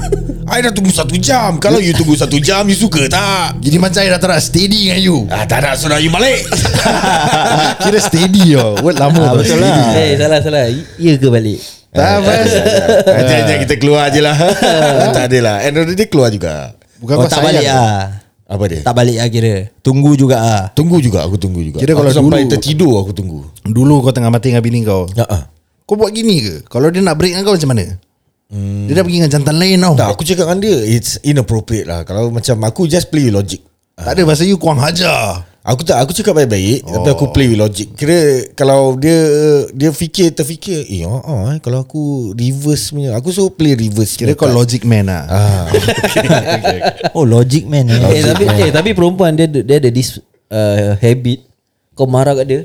[SPEAKER 2] I dah tunggu satu jam Kalau you tunggu satu jam You suka tak
[SPEAKER 1] Jadi macam I dah tak nak steady dengan you
[SPEAKER 2] Ah, tak nak suruh you balik
[SPEAKER 1] Kira steady tau Word lama
[SPEAKER 4] Ah,
[SPEAKER 1] tau,
[SPEAKER 4] betul
[SPEAKER 1] steady.
[SPEAKER 4] lah.
[SPEAKER 3] Eh salah salah Ya ke balik
[SPEAKER 1] Tak apa
[SPEAKER 2] ya. Hanya-hanya kita keluar je lah Tak ada lah End of the day keluar juga
[SPEAKER 1] Bukan
[SPEAKER 4] Oh
[SPEAKER 1] kau
[SPEAKER 4] tak
[SPEAKER 1] sayang
[SPEAKER 4] balik lah
[SPEAKER 2] Apa dia?
[SPEAKER 4] Tak balik lah kira Tunggu juga lah
[SPEAKER 2] Tunggu juga Aku tunggu juga
[SPEAKER 1] Kira kalau
[SPEAKER 2] aku Sampai
[SPEAKER 1] dulu-
[SPEAKER 2] tertidur aku tunggu
[SPEAKER 1] Dulu kau tengah mati dengan bini kau
[SPEAKER 2] uh-uh.
[SPEAKER 1] Kau buat gini ke Kalau dia nak break dengan kau macam mana hmm. Dia dah pergi dengan jantan lain tau
[SPEAKER 2] Tak aku cakap dengan dia It's inappropriate lah Kalau macam aku just play with logic
[SPEAKER 1] Tak ada pasal you kurang hajar
[SPEAKER 2] Aku tak Aku cakap baik-baik oh. Tapi aku play with logic Kira Kalau dia Dia fikir Terfikir Eh oh, oh, eh, Kalau aku reverse punya Aku suruh play reverse
[SPEAKER 1] Kira
[SPEAKER 2] punya
[SPEAKER 1] kau
[SPEAKER 2] card.
[SPEAKER 1] logic man lah
[SPEAKER 2] ah.
[SPEAKER 4] Oh logic man eh.
[SPEAKER 3] Eh, tapi, eh, tapi perempuan dia ada- dia ada this uh, habit kau marah kat dia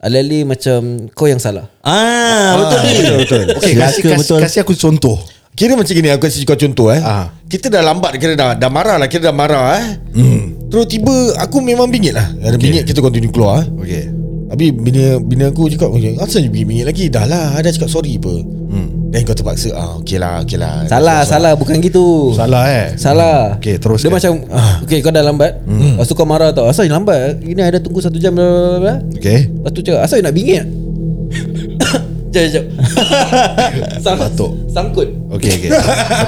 [SPEAKER 3] alih-alih macam kau yang salah.
[SPEAKER 4] Ah betul ni Betul betul
[SPEAKER 1] Okay kasih, kasih, kasih aku contoh
[SPEAKER 2] Kira macam gini Aku kasih kau contoh eh
[SPEAKER 1] Ah.
[SPEAKER 2] Kita dah lambat Kira dah, dah marah lah Kira dah marah eh hmm. Terus tiba Aku memang bingit lah okay. Bingit kita continue keluar eh.
[SPEAKER 1] Okay
[SPEAKER 2] Habis bini, bini aku cakap "Eh, Asal you pergi bingit lagi Dah lah I Dah cakap sorry apa hmm. Dan kau terpaksa ah, Okay lah okay lah
[SPEAKER 3] Salah, salah bukan gitu.
[SPEAKER 1] Salah eh
[SPEAKER 3] Salah.
[SPEAKER 1] Okay, teruskan.
[SPEAKER 3] Dia macam okay kau dah lambat. Hmm. Lepas tu kau marah tau. Asal you lambat? Ini ada tunggu satu jam bla bla bla, bla.
[SPEAKER 1] Okay
[SPEAKER 3] Lepas tu cakap asal you nak bingit? Jap jap. Sang,
[SPEAKER 1] Batuk.
[SPEAKER 3] sangkut.
[SPEAKER 1] Okay okay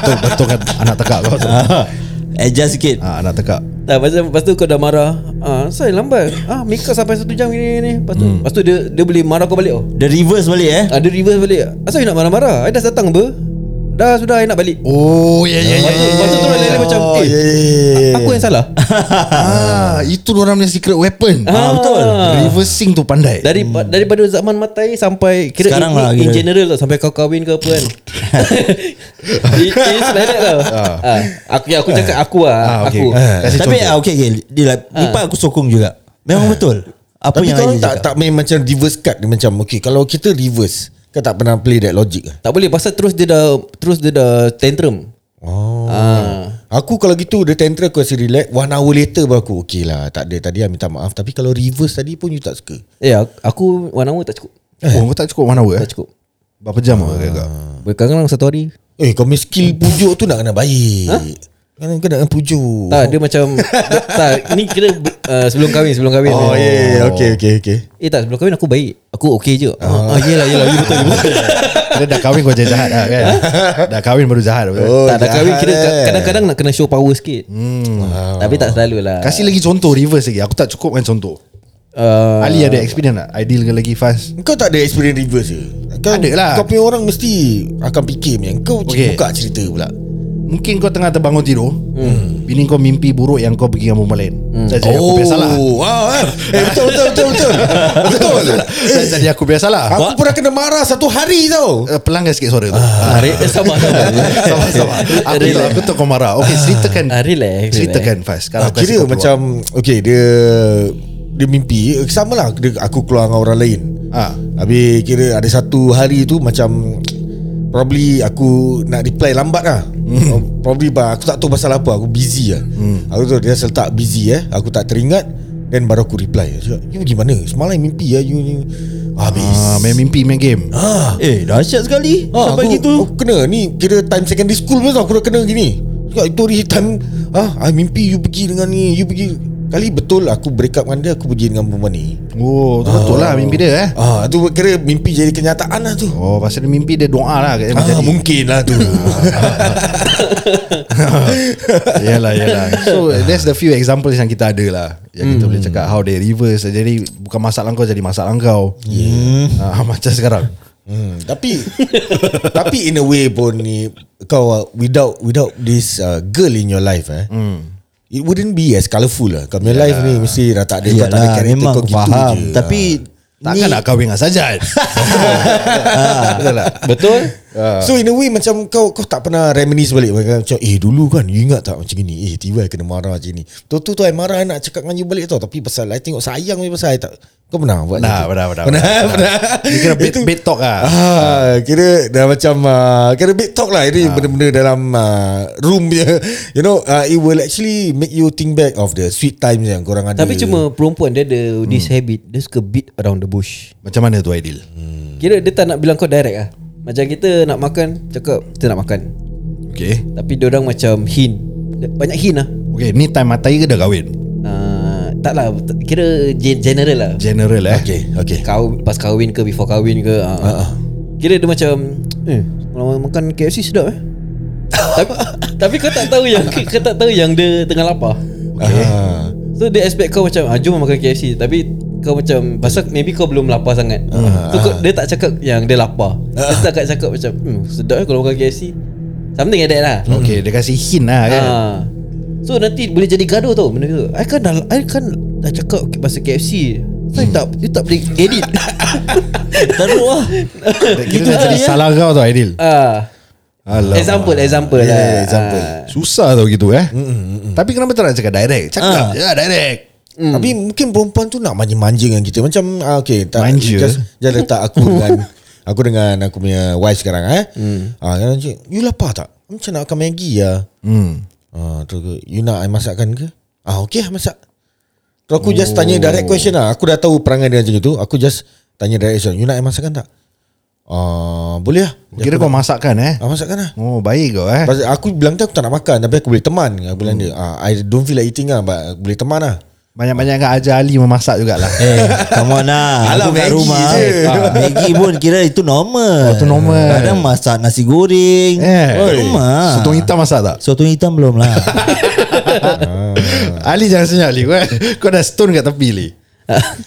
[SPEAKER 1] Betul betul kan Anak tekak kau tu
[SPEAKER 4] Ah, Adjust sikit
[SPEAKER 1] Ah, Anak tekak
[SPEAKER 3] Tak pasal lepas tu kau dah marah. Ah, asal you lambat? Ah, make up sampai satu jam ni ni. Lepas tu, hmm. lepas tu dia dia boleh marah kau balik oh.
[SPEAKER 4] The reverse balik eh
[SPEAKER 3] Ada reverse balik. Asal you nak marah-marah? I dah datang apa? Dah sudah I nak balik.
[SPEAKER 1] Oh ya ya ya
[SPEAKER 3] Lepas tu, lepas tu terus lain macam eh, aku yang salah.
[SPEAKER 1] Ah, Itu orang punya secret weapon
[SPEAKER 3] Ah, betul.
[SPEAKER 1] Reversing tu pandai
[SPEAKER 3] Dari hmm. daripada zaman matai sampai kira
[SPEAKER 4] Sekarang
[SPEAKER 3] in,
[SPEAKER 4] lah
[SPEAKER 3] in
[SPEAKER 4] kira.
[SPEAKER 3] general tau sampai kau kahwin ke apa kan. it, it's like that tau. Ah. Aku ya, aku cakap aku lah,
[SPEAKER 1] Ah, okay.
[SPEAKER 3] aku.
[SPEAKER 1] Ah. Kasih
[SPEAKER 4] Tapi
[SPEAKER 1] contoh.
[SPEAKER 4] ah, okay, okay. Dia, lah, ni part aku sokong juga Memang betul Apa
[SPEAKER 2] Tapi
[SPEAKER 4] yang
[SPEAKER 2] kau
[SPEAKER 4] Aizil
[SPEAKER 2] tak,
[SPEAKER 4] cakap
[SPEAKER 2] tak main macam reverse card dia Macam okay Kalau kita reverse Kau tak pernah play that logic lah
[SPEAKER 3] Tak boleh pasal terus dia dah terus dia dah tantrum.
[SPEAKER 2] Oh.
[SPEAKER 3] Ah.
[SPEAKER 2] Aku kalau gitu Dia tantrum aku rasa relax One hour later baru aku Okay lah tak ada Tadi I minta maaf Tapi kalau reverse tadi pun You tak suka
[SPEAKER 3] Eh aku one hour tak cukup.
[SPEAKER 1] Oh kau tak cukup one hour eh
[SPEAKER 3] Tak cukup. Ah.
[SPEAKER 1] Berapa jam kau kakak
[SPEAKER 3] Berkadang-kadang satu hari
[SPEAKER 2] Eh kau punya skill
[SPEAKER 1] Hmm.
[SPEAKER 2] pujuk tu Nak kena baik ha? Kena kena pujuk
[SPEAKER 3] Tak dia macam Tak Ni kira uh, Sebelum kahwin Sebelum kahwin
[SPEAKER 2] Oh ya yeah, yeah. Okay okay okay
[SPEAKER 3] Eh tak sebelum kahwin aku baik Aku okay je Ah ah, Yelah yelah you betul, you betul.
[SPEAKER 1] Kira dah kahwin kau jadi jahat lah kan
[SPEAKER 3] Ah.
[SPEAKER 1] Dah kahwin baru jahat betul?
[SPEAKER 2] Oh,
[SPEAKER 3] tak dah kahwin kira
[SPEAKER 2] jahat, eh.
[SPEAKER 3] kadang-kadang nak kena show power sikit. Hmm. Tapi tak selalu lah.
[SPEAKER 1] Kasih lagi contoh reverse lagi Aku tak cukup kan contoh
[SPEAKER 3] uh,
[SPEAKER 1] Ali ada experience tak? Ideal ke lagi fast?
[SPEAKER 2] Kau tak ada experience reverse ke? Kau,
[SPEAKER 1] Ada lah.
[SPEAKER 2] Kau punya orang mesti Akan fikir punya Kau
[SPEAKER 1] Okay.
[SPEAKER 2] okay. buka cerita pula
[SPEAKER 1] Mungkin kau tengah terbangun tidur hmm. Bini kau mimpi buruk yang kau pergi dengan perempuan lain hmm. Saja aku
[SPEAKER 3] Oh.
[SPEAKER 1] biasa salah
[SPEAKER 2] wow, eh. eh betul betul betul betul. betul.
[SPEAKER 1] Jadi aku biasa salah
[SPEAKER 2] Aku pernah kena marah satu hari tau.
[SPEAKER 1] Eh, Pelanggan sikit suara tu
[SPEAKER 3] Ah, re- eh, sabar sabar.
[SPEAKER 1] Sabar sabar Aku tahu, aku tahu kau marah Okay ceritakan
[SPEAKER 3] Ah, relax,
[SPEAKER 1] Ceritakan fast Kalau
[SPEAKER 2] Ah,
[SPEAKER 1] aku kasih
[SPEAKER 2] kira
[SPEAKER 1] kau keluar.
[SPEAKER 2] macam okay dia dia mimpi eh, sama lah dia, aku keluar dengan orang lain.
[SPEAKER 1] Ah.
[SPEAKER 2] Habis kira ada satu hari tu macam probably aku nak reply lambat lah. Mm. Probably bah, aku tak tahu pasal apa, aku busy lah. Mm. Aku tu dia asal tak busy eh. Aku tak teringat then baru aku reply. Dia Cakap, "You pergi mana? Semalam mimpi ah you ni." Habis.
[SPEAKER 1] Ah, main mimpi main game
[SPEAKER 4] Eh dahsyat sekali
[SPEAKER 2] Ah,
[SPEAKER 4] Sampai
[SPEAKER 2] aku,
[SPEAKER 4] gitu
[SPEAKER 2] Aku kena ni Kira time secondary school pun tau, Aku dah kena gini Cakap itu hari time ah, I mimpi you pergi dengan ni You pergi Kali betul aku break up dengan dia Aku pergi dengan perempuan ni
[SPEAKER 1] Oh tu betul lah mimpi dia eh
[SPEAKER 2] Ah, tu kira mimpi jadi kenyataan lah tu
[SPEAKER 1] Oh pasal dia mimpi dia doa lah kat dia
[SPEAKER 2] Ah,
[SPEAKER 1] menjadi.
[SPEAKER 2] mungkin lah tu
[SPEAKER 1] Yalah yalah So there's the few examples yang kita ada lah Yang kita boleh cakap How they reverse Jadi bukan masalah kau Jadi masalah kau yeah. ah, Macam sekarang
[SPEAKER 2] hmm, Tapi Tapi in a way pun ni Kau ah, without Without this uh, girl in your life eh It wouldn't be as colourful lah Kau punya life ni Mesti dah tak ada Kau tak ada
[SPEAKER 4] Yalah
[SPEAKER 2] karakter
[SPEAKER 4] memang
[SPEAKER 2] kau
[SPEAKER 4] aku
[SPEAKER 2] gitu
[SPEAKER 4] faham
[SPEAKER 2] je.
[SPEAKER 4] Tapi ni,
[SPEAKER 1] Takkan nak kahwin dengan Sajat Betul lah. tak?
[SPEAKER 3] Betul?
[SPEAKER 2] Ah. So in a way macam kau kau tak pernah reminisce balik macam macam, eh dulu kan you ingat tak macam ni eh tiba I kena marah macam ni. Tu tu tu I marah I nak cakap dengan you balik tau tapi pasal I tengok sayang ni pasal I tak kau pernah buat
[SPEAKER 1] Pernah,
[SPEAKER 2] macam tu?
[SPEAKER 1] pernah, pernah,
[SPEAKER 2] pernah,
[SPEAKER 1] pernah.
[SPEAKER 2] pernah.
[SPEAKER 1] Dia kira bed,
[SPEAKER 2] Itu-
[SPEAKER 1] bed talk lah
[SPEAKER 2] Ah, kira dah macam uh, kira big talk lah ini benda-benda dalam uh, room dia. You know, uh, it will actually make you think back of the sweet times yang korang ada.
[SPEAKER 3] Tapi cuma perempuan dia ada this
[SPEAKER 2] Hmm.
[SPEAKER 3] habit dia suka beat around the bush.
[SPEAKER 1] Macam mana tu Aidil?
[SPEAKER 2] Hmm.
[SPEAKER 3] Kira dia tak nak bilang kau direct ah. Macam kita nak makan cakap kita nak makan.
[SPEAKER 1] Okay
[SPEAKER 3] Tapi dia orang macam hint. Banyak hint lah.
[SPEAKER 1] Okay ni time matai ke dah kahwin?
[SPEAKER 3] Uh, tak lah Kira gen- general lah
[SPEAKER 1] General eh
[SPEAKER 2] Okay, okay.
[SPEAKER 3] Kau pas kahwin ke before kahwin ke uh, uh. Kira dia macam eh kalau makan KFC sedap eh. tapi, tapi kau tak tahu yang kau tak tahu yang dia tengah lapar.
[SPEAKER 1] Okay.
[SPEAKER 2] Ah.
[SPEAKER 3] So dia expect kau macam ah, Jom makan KFC Tapi kau macam Pasal maybe kau belum lapar sangat uh, So kau, dia tak cakap yang dia lapar uh, Dia tak cakap macam hmm, Sedap eh kalau makan KFC Something like that lah
[SPEAKER 1] Okay dia kasi hint lah kan
[SPEAKER 3] Ah. So nanti boleh jadi gaduh tau benda tu. I kan dah I kan dah cakap pasal KFC. Saya tak you tak boleh edit.
[SPEAKER 4] Teruk lah
[SPEAKER 1] Kita dah jadi salah kau tau Aidil
[SPEAKER 3] ah.
[SPEAKER 1] Alamak.
[SPEAKER 3] Example example
[SPEAKER 1] Yeah,
[SPEAKER 3] lah.
[SPEAKER 1] example. Susah tau gitu eh. Mm-mm. Tapi kenapa tak nak cakap direct? Cakap je lah direct.
[SPEAKER 2] Mm. Tapi mungkin perempuan tu nak manja-manja dengan kita Macam ah, okay, tak,
[SPEAKER 1] Manja?
[SPEAKER 2] just, just letak aku dengan Aku dengan aku punya wife sekarang eh. Mm. Ah, kan cik, you lapar tak? Macam nak makan Maggi ya.
[SPEAKER 1] Hmm.
[SPEAKER 2] Ah, tu ke, you nak I masakkan ke? Ah, okay lah masak. Tu aku just tanya direct question lah. Aku dah tahu perangai dia macam itu. Aku just tanya direct question. You nak I masakkan tak? Ah, boleh lah.
[SPEAKER 1] Kira kau masakkan eh.
[SPEAKER 2] Ah, masakkan lah.
[SPEAKER 1] Oh baik kau eh.
[SPEAKER 2] Pasal aku bilang tu aku tak nak makan Tapi aku boleh teman Aku bilang dia ah, I don't feel like eating lah But aku boleh teman lah
[SPEAKER 1] Banyak-banyak kan ajar Ali memasak jugalah.
[SPEAKER 4] Eh, come on lah
[SPEAKER 2] Alah,
[SPEAKER 4] Aku kat
[SPEAKER 2] Maggi
[SPEAKER 4] rumah
[SPEAKER 2] je.
[SPEAKER 4] ah, Maggi pun kira itu normal
[SPEAKER 1] Oh, tu normal.
[SPEAKER 4] Kadang masak nasi goreng
[SPEAKER 1] Eh,
[SPEAKER 4] Kat rumah
[SPEAKER 1] Sotong hitam masak tak?
[SPEAKER 4] Sotong hitam belum lah
[SPEAKER 1] Ali jangan senyap Ali. Kau, kau dah stone kat tepi Ali.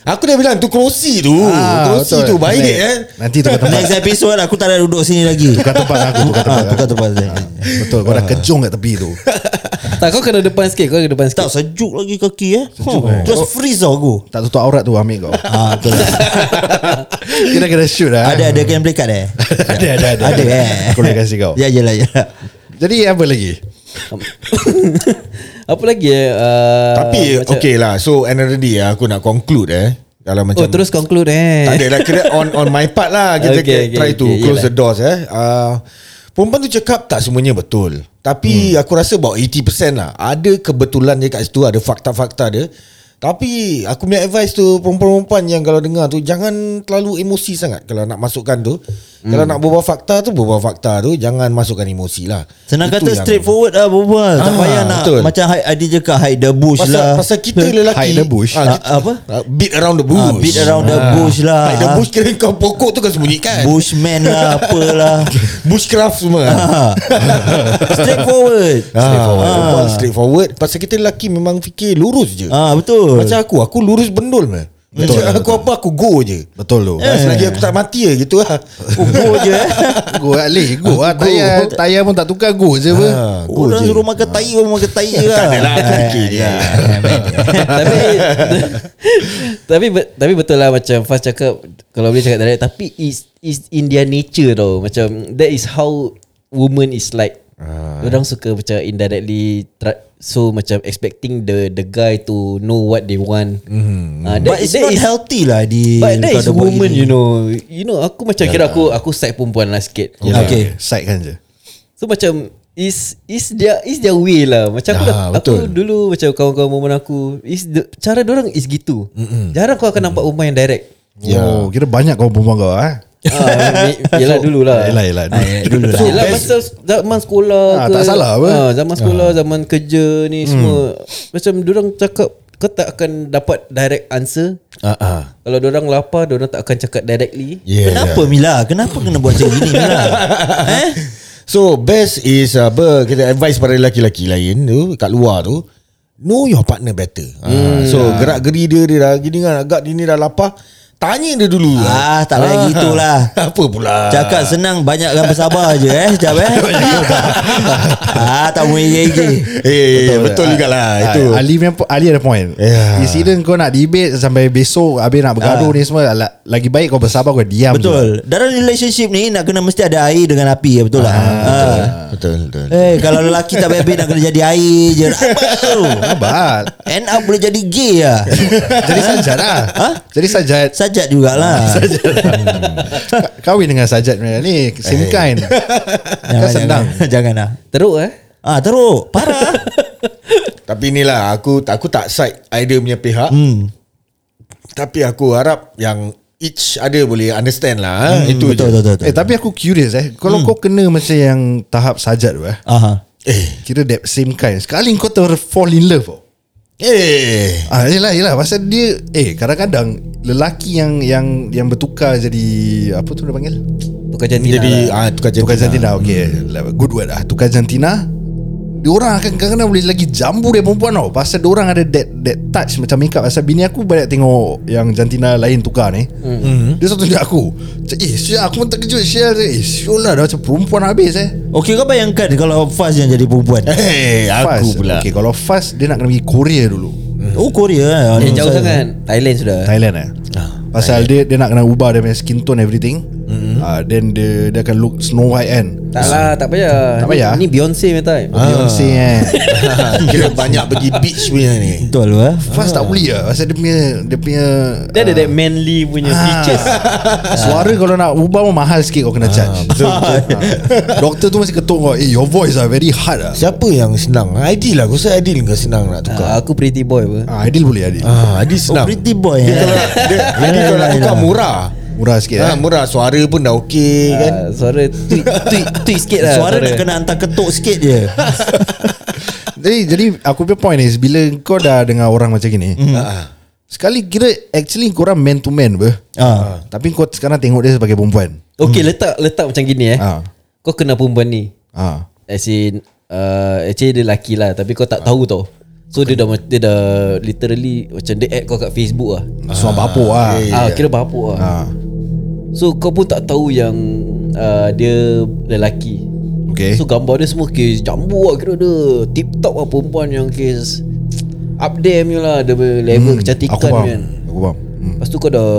[SPEAKER 2] Aku dah bilang tu kerusi tu
[SPEAKER 1] Ah,
[SPEAKER 2] Kerusi
[SPEAKER 1] betul.
[SPEAKER 2] tu Uh, baik
[SPEAKER 1] Next.
[SPEAKER 2] kan
[SPEAKER 1] Nanti tukar tempat.
[SPEAKER 4] Next episode aku tak nak duduk sini lagi
[SPEAKER 1] Tukar tempat lah aku. Tukar tempat.
[SPEAKER 4] Ah, Tukar tempat Ah. saya
[SPEAKER 1] Betul kau dah kejong kat tepi tu.
[SPEAKER 3] Ah. Tak kau kena depan sikit, kau kena depan sikit.
[SPEAKER 4] Tak sejuk lagi kaki eh Sejuk Just freeze tau aku
[SPEAKER 1] Tak tutup aurat tu ambil kau.
[SPEAKER 4] Ah, betul lah.
[SPEAKER 1] Kita kena shoot lah.
[SPEAKER 4] Ada ada can play card eh
[SPEAKER 1] ada ada ada.
[SPEAKER 4] Ada eh
[SPEAKER 1] Aku boleh kasih kau.
[SPEAKER 4] Ya je lah ya lah.
[SPEAKER 1] Jadi apa lagi?
[SPEAKER 3] Apa lagi eh? Uh,
[SPEAKER 2] Tapi
[SPEAKER 3] macam-
[SPEAKER 2] okay lah So another day lah, aku nak conclude eh Kalau macam
[SPEAKER 3] Oh terus conclude eh.
[SPEAKER 2] Tak ada lah Kira on, on my part lah Kita
[SPEAKER 3] Okay,
[SPEAKER 2] okay,
[SPEAKER 3] okay,
[SPEAKER 2] try to
[SPEAKER 3] okay,
[SPEAKER 2] close
[SPEAKER 3] yelah.
[SPEAKER 2] the doors eh uh, Perempuan tu cakap tak semuanya betul Tapi hmm. aku rasa about 80% lah Ada kebetulan dia kat situ Ada fakta-fakta dia Tapi aku punya advice tu Perempuan-perempuan yang kalau dengar tu Jangan terlalu emosi sangat Kalau nak masukkan tu Kalau nak berbual fakta tu Berbual fakta tu Jangan masukkan emosi lah
[SPEAKER 4] Senang
[SPEAKER 2] Itu
[SPEAKER 4] kata
[SPEAKER 2] yang-
[SPEAKER 4] straightforward lah berbual Tak
[SPEAKER 2] Ah,
[SPEAKER 4] payah nak
[SPEAKER 2] betul.
[SPEAKER 4] Macam hide- Adi cakap hide the bush
[SPEAKER 2] Pasal,
[SPEAKER 4] lah
[SPEAKER 2] pasal kita lelaki
[SPEAKER 1] Hide the bush.
[SPEAKER 2] Ah,
[SPEAKER 4] Ah,
[SPEAKER 2] kita-
[SPEAKER 4] apa?
[SPEAKER 2] ah, Beat around the bush
[SPEAKER 4] Ah, beat around the bush lah.
[SPEAKER 2] Hide the bush kira kau pokok tu kau sembunyikan
[SPEAKER 4] Bushman lah Apalah
[SPEAKER 2] Bushcraft semua ah.
[SPEAKER 4] Ah. Straightforward
[SPEAKER 2] Straightforward. Ah. Straightforward. Pasal kita lelaki memang fikir lurus je.
[SPEAKER 4] Ah betul.
[SPEAKER 2] Macam aku, aku lurus bendul man. Betul, Macam aku apa aku go je.
[SPEAKER 1] Betul tu.
[SPEAKER 2] Eh. Selagi aku tak mati je gitu lah.
[SPEAKER 4] Oh, go je eh.
[SPEAKER 1] Go Ali, go lah. Tayar, tayar pun tak tukar, go je apa.
[SPEAKER 2] Ah, go
[SPEAKER 4] Orang
[SPEAKER 2] je.
[SPEAKER 4] suruh makan tai Kau makan tai je lah
[SPEAKER 2] adalah, aku fikir je.
[SPEAKER 4] Ya,
[SPEAKER 3] tapi tapi bet- tapi betul lah macam Faz cakap kalau boleh cakap direct tapi is is in their nature tau macam that is how woman is like uh. orang suka macam indirectly try, so macam expecting the the guy to know what they want mm. uh, that,
[SPEAKER 4] But it's
[SPEAKER 3] that
[SPEAKER 4] not
[SPEAKER 3] is
[SPEAKER 4] healthy lah di
[SPEAKER 3] But that is
[SPEAKER 4] kalau
[SPEAKER 3] woman
[SPEAKER 4] begini.
[SPEAKER 3] you know You know aku macam kira aku Aku side perempuan lah sikit
[SPEAKER 4] Yalah. Okay.
[SPEAKER 1] Side kan je.
[SPEAKER 3] So macam Is is their is their way lah Macam aku,
[SPEAKER 2] Ah,
[SPEAKER 3] dah- aku
[SPEAKER 2] betul.
[SPEAKER 3] dulu Macam kawan-kawan momen aku is the, Cara orang is gitu Mm-mm. Jarang kau akan nampak perempuan yang direct
[SPEAKER 4] Ya.
[SPEAKER 1] Yeah. Oh, kira banyak kau perempuan kau Oh, eh.
[SPEAKER 3] ah, Yelah dulu lah
[SPEAKER 1] Yelah, yelah.
[SPEAKER 4] Ah, ya, Dulu lah
[SPEAKER 3] Yelah masa zaman sekolah
[SPEAKER 1] eh, Ah, tak salah apa?
[SPEAKER 3] ah, Zaman sekolah Zaman kerja ni semua Macam orang cakap Kau tak akan dapat direct answer
[SPEAKER 2] Ah, ah.
[SPEAKER 3] Kalau orang lapar orang tak akan cakap directly
[SPEAKER 2] Yeah,
[SPEAKER 4] Kenapa Mila Kenapa kena buat macam gini Mila Eh
[SPEAKER 2] So best is apa kita advice para lelaki-lelaki lain tu kat luar tu know your partner better. Hmm. so gerak-geri dia dia dah gini kan agak dia ni dah lapar tanya dia dulu.
[SPEAKER 4] Ah, tak payah gitulah.
[SPEAKER 2] Apa pula?
[SPEAKER 4] Cakap senang Banyakkan bersabar je eh Sekejap eh Ah tak mengejek-ejek
[SPEAKER 2] Eh betul, betul
[SPEAKER 1] Ah,
[SPEAKER 2] jugalah
[SPEAKER 1] ah,
[SPEAKER 2] itu.
[SPEAKER 1] Ali punya po- Ali ada point.
[SPEAKER 4] Ya.
[SPEAKER 2] Yeah.
[SPEAKER 1] It's either kau nak debate sampai besok habis nak bergaduh ni semua la- lagi baik kau bersabar kau diam.
[SPEAKER 4] Ah. Betul. Dalam relationship ni nak kena mesti ada air dengan api ya betul lah. Ha.
[SPEAKER 2] Ah, Betul betul.
[SPEAKER 4] Eh kalau lelaki tak baik-baik nak kena jadi air je. Rabak tu.
[SPEAKER 1] Sabar.
[SPEAKER 4] End up boleh jadi gay lah.
[SPEAKER 1] Jadi sajat lah.
[SPEAKER 4] Ha?
[SPEAKER 1] Jadi sajat.
[SPEAKER 4] Sajat jugalah.
[SPEAKER 1] Ka- Kahwin dengan sajat punya ni same kind.
[SPEAKER 4] Hmm. Eh. Jangan,
[SPEAKER 1] Kau senang.
[SPEAKER 4] Jangan, jangan lah.
[SPEAKER 3] Teruk eh
[SPEAKER 4] Ah teruk. Parah.
[SPEAKER 2] Tapi inilah aku aku tak side idea punya pihak. Hmm. Tapi aku harap yang each ada boleh understand lah. Hmm, itu je.
[SPEAKER 4] betul, betul, betul, betul.
[SPEAKER 1] Eh tapi aku curious eh.
[SPEAKER 4] Hmm.
[SPEAKER 1] Kalau kau kena macam yang tahap sajat tu eh.
[SPEAKER 4] Aha.
[SPEAKER 2] Eh.
[SPEAKER 1] Kira that same kind. Sekali kau ter fall in love. tau.
[SPEAKER 2] Eh.
[SPEAKER 1] Ah yelah yelah pasal dia eh kadang-kadang lelaki yang yang yang bertukar jadi apa tu dia panggil?
[SPEAKER 3] Tukar jantina
[SPEAKER 2] Jadi
[SPEAKER 3] lah.
[SPEAKER 2] ah tukar
[SPEAKER 1] Tukar
[SPEAKER 2] jantina.
[SPEAKER 1] jantina okay. Good word lah Tukar jantina Diorang akan kadang-kadang boleh lagi jambu dia perempuan tau Pasal diorang ada that, that touch macam makeup Pasal bini aku banyak tengok yang jantina lain tukar ni mm. Dia satu tunjuk aku Macam eh Syah aku pun terkejut Syah Eh Syah lah dah macam perempuan habis eh
[SPEAKER 4] Okey kau bayangkan kalau Faz yang jadi perempuan.
[SPEAKER 3] Eh.
[SPEAKER 2] Hey,
[SPEAKER 1] Fast.
[SPEAKER 2] aku pula.
[SPEAKER 1] Okay kalau fast dia nak kena pergi Korea dulu
[SPEAKER 4] Oh Korea eh.
[SPEAKER 3] Eh, jauh
[SPEAKER 4] Saya-
[SPEAKER 3] sangat Thailand sudah
[SPEAKER 1] Thailand eh Pasal dia dia nak kena ubah dia punya skin tone everything mm-hmm. uh, Then dia, dia akan look Snow White kan
[SPEAKER 3] Tak lah tak payah
[SPEAKER 1] Tak payah?
[SPEAKER 3] Ni, ni Beyonce punya time
[SPEAKER 1] ah. Beyonce kan
[SPEAKER 2] Ah, Kira banyak pergi beach punya ni.
[SPEAKER 4] Betul eh.
[SPEAKER 1] Fast tak boleh lah Pasal dia punya Dia punya
[SPEAKER 3] Dia ada that manly punya features
[SPEAKER 1] Ah, Suara kalau nak ubah pun mahal sikit kau kena charge Ah. Doktor tu masih ketuk kau Eh your voice are very hard lah
[SPEAKER 2] Siapa yang senang? Aidil lah. Kau rasa Aidil ke senang nak tukar?
[SPEAKER 3] Ah, Aku pretty boy apa
[SPEAKER 1] ah, Adil boleh Adil
[SPEAKER 2] Ah, Aidil
[SPEAKER 4] Oh
[SPEAKER 2] senang.
[SPEAKER 4] pretty boy
[SPEAKER 2] Dia
[SPEAKER 4] eh.
[SPEAKER 2] kalau dia, Aidil kalau nak tukar murah.
[SPEAKER 1] Murah sikit
[SPEAKER 2] Ha,
[SPEAKER 1] eh.
[SPEAKER 2] murah suara pun dah okey kan.
[SPEAKER 3] Ah, Suara tweet tweet tweet sikit lah
[SPEAKER 4] Suara nak kena hantar ketuk sikit je.
[SPEAKER 1] Jadi jadi aku punya point is Bila kau dah dengan orang macam gini
[SPEAKER 3] Hmm.
[SPEAKER 1] ah, Sekali kira Actually korang man to man ber.
[SPEAKER 4] Ah.
[SPEAKER 1] Tapi kau sekarang tengok dia sebagai perempuan
[SPEAKER 3] Okay letak letak macam gini eh
[SPEAKER 1] Ah.
[SPEAKER 3] Kau kenal perempuan ni
[SPEAKER 1] ah.
[SPEAKER 3] As in uh, Actually dia lelaki lah Tapi kau tak tahu tau So dia dah ma- Dia dah Literally Macam dia add kau kat Facebook lah
[SPEAKER 1] Suam bapuk lah
[SPEAKER 3] Ah, Kira bapuk lah
[SPEAKER 1] ah.
[SPEAKER 3] So kau pun tak tahu yang uh, Dia lelaki
[SPEAKER 1] Okay
[SPEAKER 3] So gambar dia semua kes Jambu lah kira dia Tip top lah perempuan yang kes Up there punya lah Dia punya level hmm, kecantikan
[SPEAKER 1] Aku faham
[SPEAKER 3] kan
[SPEAKER 1] Aku faham hmm.
[SPEAKER 3] Lepas tu kau dah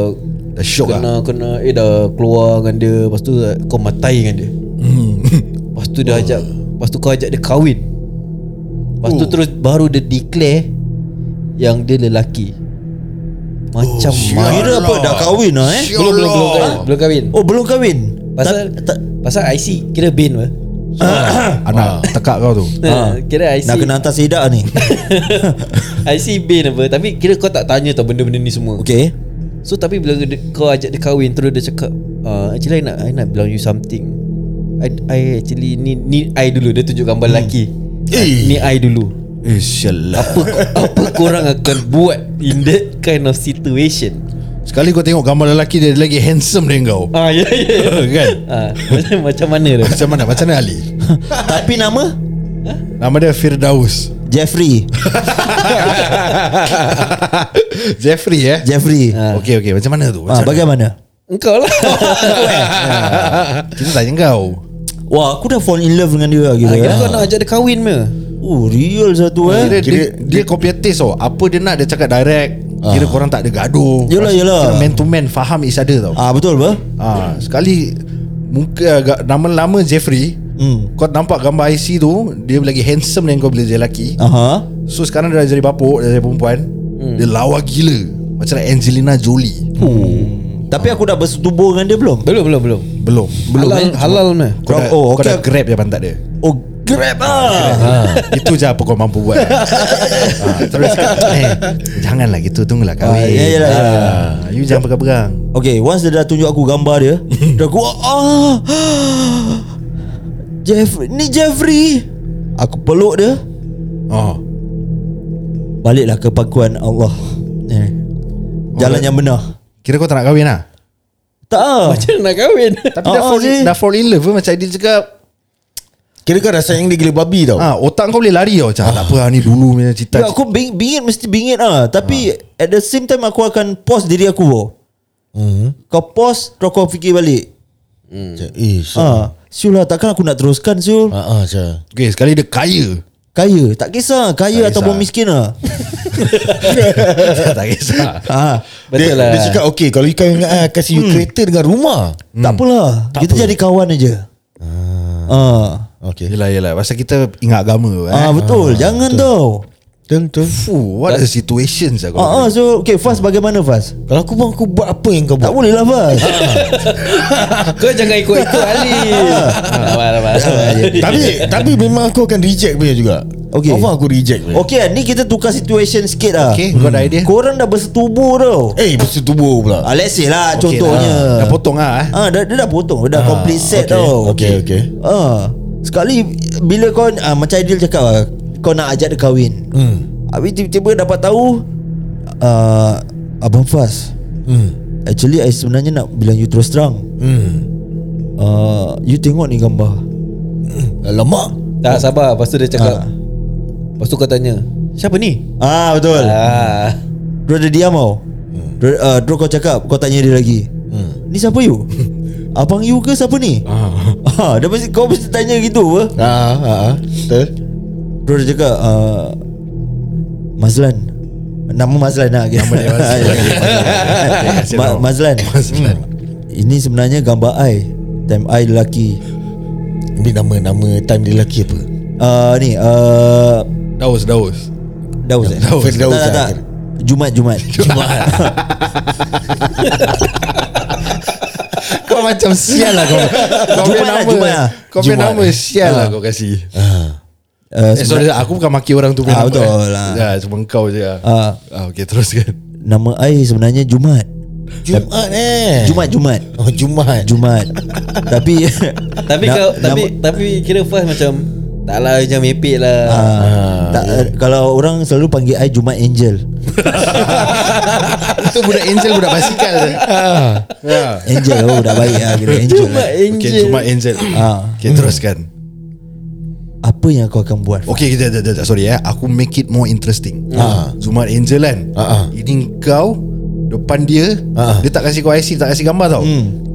[SPEAKER 1] Dah syok ah.
[SPEAKER 3] kena, lah Kena Eh dah keluar dengan dia Lepas tu dah- kau matai dengan dia Lepas tu dia ajak Lepas tu kau ajak dia kahwin Lepas tu terus baru dia declare Yang dia lelaki Macam oh, mana
[SPEAKER 4] Kira apa dah kahwin lah eh.
[SPEAKER 3] belum, belum, belum kahwin Belum kahwin
[SPEAKER 4] Oh belum kahwin.
[SPEAKER 3] Pasal
[SPEAKER 4] Tak- tak-
[SPEAKER 3] Pasal IC Kira bin lah
[SPEAKER 1] Anak
[SPEAKER 3] Ah.
[SPEAKER 1] tekak kau tu
[SPEAKER 3] ha. Kira IC
[SPEAKER 4] Nak kena hantar sedak ni.
[SPEAKER 3] IC bin apa Tapi kira kau tak tanya tau Benda-benda ni semua
[SPEAKER 4] Okey.
[SPEAKER 3] So tapi bila dia, kau ajak dia kahwin Terus dia cakap uh, Actually I nak, I nak bilang you something I, I actually ni, ni I dulu Dia tunjuk gambar hmm. lelaki
[SPEAKER 2] Eh.
[SPEAKER 3] Ni I dulu
[SPEAKER 1] Eh sialah
[SPEAKER 3] Apa apa korang akan buat In that kind of situation
[SPEAKER 1] Sekali kau tengok gambar lelaki dia, dia lagi handsome dari kau
[SPEAKER 3] Ah ya ya ya.
[SPEAKER 1] Kan
[SPEAKER 3] Ah, macam, macam mana tu
[SPEAKER 1] Macam mana Macam mana Ali
[SPEAKER 4] Tapi nama
[SPEAKER 1] Nama dia Firdaus
[SPEAKER 4] Jeffrey.
[SPEAKER 1] Jeffrey eh
[SPEAKER 4] Jeffrey.
[SPEAKER 1] Ah. Okey okey macam mana tu? Macam
[SPEAKER 4] Ah,
[SPEAKER 1] mana?
[SPEAKER 4] bagaimana?
[SPEAKER 3] Engkau lah
[SPEAKER 1] Kita tanya kau.
[SPEAKER 4] Wah, aku dah fall in love dengan dia lah
[SPEAKER 3] ah,
[SPEAKER 4] kira.
[SPEAKER 3] Kira kau
[SPEAKER 4] Ah,
[SPEAKER 3] nak ajak dia kahwin me
[SPEAKER 4] Oh, real satu
[SPEAKER 1] Kira,
[SPEAKER 4] eh.
[SPEAKER 1] dia, dia, copy and paste tau. Apa dia nak dia cakap direct. Kira korang tak ada gaduh.
[SPEAKER 4] Yelah, yelah.
[SPEAKER 1] Kira man to man faham each other tau. Ah,
[SPEAKER 4] Ah, betul apa?
[SPEAKER 1] sekali mungkin agak nama lama Jeffrey. Hmm. Kau nampak gambar IC tu Dia lagi handsome dengan kau bila dia lelaki
[SPEAKER 4] Aha.
[SPEAKER 1] So sekarang dia dah jadi bapuk Dia jadi perempuan hmm. Dia lawa gila Macam like Angelina Jolie
[SPEAKER 4] Tapi aku dah bersetubuh dengan dia belum?
[SPEAKER 3] Belum belum belum
[SPEAKER 1] Belum Belum eh?
[SPEAKER 3] Halal halal me
[SPEAKER 1] Kau, dah,
[SPEAKER 4] Oh,
[SPEAKER 1] oh, kau
[SPEAKER 4] okay.
[SPEAKER 1] dah grab je pantat dia
[SPEAKER 4] Oh, grab ah.
[SPEAKER 1] Itu je apa kau mampu buat ha, Terus eh, Janganlah gitu Tunggulah kahwin
[SPEAKER 4] Ah, ya, yalah, yalah.
[SPEAKER 1] Ah, You jangan pegang-pegang
[SPEAKER 4] Okay, once dia dah tunjuk aku gambar dia, dah aku ah. Jeffrey, ni Jeffrey. Aku peluk dia,
[SPEAKER 1] oh.
[SPEAKER 4] baliklah ke pangkuan Allah. Eh. Jalan yang benar.
[SPEAKER 1] Kira kau tak nak kahwin lah
[SPEAKER 4] Tak ah.
[SPEAKER 3] Macam mana nak kahwin
[SPEAKER 1] Tapi dah,
[SPEAKER 4] Ah,
[SPEAKER 1] fall,
[SPEAKER 4] Zee.
[SPEAKER 1] dah fall in love pun Macam Adil cakap
[SPEAKER 2] Kira kau dah sayang dia gila babi tau.
[SPEAKER 1] ah, Otak kau boleh lari tau Macam tak apa lah, Ni dulu punya cita
[SPEAKER 4] Ya, aku bing, bingit mesti bingit ah, tapi at the same time aku akan pause diri aku. Mm. Kau pause, terus kau fikir balik.
[SPEAKER 2] Hmm.
[SPEAKER 3] Hmm.
[SPEAKER 2] Macam, Eh, so.
[SPEAKER 4] Ah, Syul lah takkan aku nak teruskan Syul.
[SPEAKER 2] Ah, ah, macam.
[SPEAKER 1] Okay sekali dia kaya
[SPEAKER 4] Kaya, tak kisah kaya
[SPEAKER 1] Tak
[SPEAKER 4] ataupun
[SPEAKER 1] kisah.
[SPEAKER 4] miskin lah.
[SPEAKER 1] Tak kisah
[SPEAKER 4] ah.
[SPEAKER 3] Betul
[SPEAKER 2] dia,
[SPEAKER 3] lah
[SPEAKER 2] Dia cakap okay Kalau you kahwin dengan I Kasih you kereta dengan rumah
[SPEAKER 4] Hmm. Tak apalah. Tak kita apa. jadi kawan aja. Ah.
[SPEAKER 2] Okay
[SPEAKER 1] Yelah yelah Pasal kita ingat agama
[SPEAKER 4] Ah,
[SPEAKER 1] eh.
[SPEAKER 4] betul. Jangan tau.
[SPEAKER 2] Betul betul
[SPEAKER 1] Fuh, What a situation saya kau
[SPEAKER 4] Ah, ah, so okay Faz bagaimana Faz?
[SPEAKER 2] Kalau aku pun aku buat apa yang kau
[SPEAKER 4] Tak
[SPEAKER 2] buat
[SPEAKER 4] boleh lah Faz.
[SPEAKER 3] Kau jangan ikut-ikut Ali Lama lama
[SPEAKER 2] Ah, ya, Tapi tapi memang aku akan reject punya juga
[SPEAKER 4] Okay.
[SPEAKER 2] Confirm aku reject punya
[SPEAKER 4] okay, ni kita tukar situation sikit lah.
[SPEAKER 1] Okay kau ada idea
[SPEAKER 4] Korang dah bersetubuh tau.
[SPEAKER 2] Eh bersetubuh pula
[SPEAKER 4] Ah, let's say lah
[SPEAKER 1] Okay
[SPEAKER 4] contohnya.
[SPEAKER 1] lah. Dah potong lah eh.
[SPEAKER 4] Ah, dah, dia dah potong Dah complete set
[SPEAKER 2] okay,
[SPEAKER 4] tau
[SPEAKER 2] okay, okay.
[SPEAKER 4] ah, Sekali Bila kau ah, Macam Aidil cakap lah Kau nak ajak dia kahwin hmm. Habis tiba-tiba dapat tahu ah, Abang Faz
[SPEAKER 2] hmm.
[SPEAKER 4] Actually I sebenarnya nak Bilang you terus terang
[SPEAKER 2] hmm.
[SPEAKER 4] ah, You tengok ni gambar
[SPEAKER 2] Lemak
[SPEAKER 1] Eh,
[SPEAKER 3] Tak sabar Lepas tu dia cakap
[SPEAKER 1] Ha.
[SPEAKER 4] Ah.
[SPEAKER 3] Lepas tu kau tanya Siapa ni?
[SPEAKER 1] Ha.
[SPEAKER 4] Ah betul.
[SPEAKER 3] Ah,
[SPEAKER 4] Bro dia diam tau
[SPEAKER 1] Hmm.
[SPEAKER 4] Bro, uh, bro kau cakap Kau tanya dia lagi hmm. Ni siapa you? Abang you ke siapa ni? Ah. dia mesti, kau mesti tanya gitu apa?
[SPEAKER 2] Ah, ah, ah. Betul.
[SPEAKER 4] Bro dia cakap uh, Mazlan Nama Mazlan lah Nama dia
[SPEAKER 1] Mazlan.
[SPEAKER 4] Ma- Mazlan Hmm.
[SPEAKER 1] Mazlan.
[SPEAKER 4] Ini sebenarnya gambar I Time I lelaki
[SPEAKER 2] Ini nama nama time dia lelaki apa?
[SPEAKER 4] uh, Ni uh,
[SPEAKER 1] Daus Daus
[SPEAKER 4] Daus eh?
[SPEAKER 2] Daus. Firdaus
[SPEAKER 4] Tak tak
[SPEAKER 2] lah.
[SPEAKER 4] tak Jumat Jumat
[SPEAKER 1] Kau macam sial lah kau Kau punya
[SPEAKER 4] Jumat lah,
[SPEAKER 1] nama
[SPEAKER 4] Jumat lah.
[SPEAKER 1] Kau punya
[SPEAKER 4] Jumat
[SPEAKER 1] nama
[SPEAKER 4] lah.
[SPEAKER 1] sial lah kau kasih
[SPEAKER 4] uh,
[SPEAKER 1] Eh sorry aku bukan maki orang tu punya
[SPEAKER 4] Ah,
[SPEAKER 1] nama
[SPEAKER 4] betul
[SPEAKER 1] eh.
[SPEAKER 4] lah.
[SPEAKER 1] Ya cuma kau je lah
[SPEAKER 4] Ah.
[SPEAKER 1] Ah, Okay teruskan
[SPEAKER 4] Nama I sebenarnya Jumat
[SPEAKER 2] Jumat eh.
[SPEAKER 4] Jumat Jumat
[SPEAKER 2] Oh, Jumat.
[SPEAKER 4] Jumat Tapi
[SPEAKER 3] Tapi
[SPEAKER 4] na-
[SPEAKER 3] kau
[SPEAKER 4] nama-
[SPEAKER 3] Tapi tapi kira Fas macam Tak lah macam mepek lah
[SPEAKER 1] Ha.
[SPEAKER 4] Ah, tak, eh, kalau orang selalu panggil I Jumat Angel.
[SPEAKER 1] Itu budak angel budak basikal je Ya
[SPEAKER 4] Angel oh dah baik ah kira Angel.
[SPEAKER 3] Jumat
[SPEAKER 4] lah.
[SPEAKER 3] Angel
[SPEAKER 1] Okay cuma angel
[SPEAKER 4] Ah.
[SPEAKER 1] Okay teruskan
[SPEAKER 4] Apa yang kau akan buat?
[SPEAKER 2] Oh.
[SPEAKER 1] Okay kita tak, tak, tak, Sorry eh Aku make it more interesting ha. Zumat Angel kan
[SPEAKER 2] Ha, ha.
[SPEAKER 1] Ini kau Depan dia
[SPEAKER 2] Ha, Hmm. ha.
[SPEAKER 1] Dia tak kasi kau IC Tak kasi gambar tau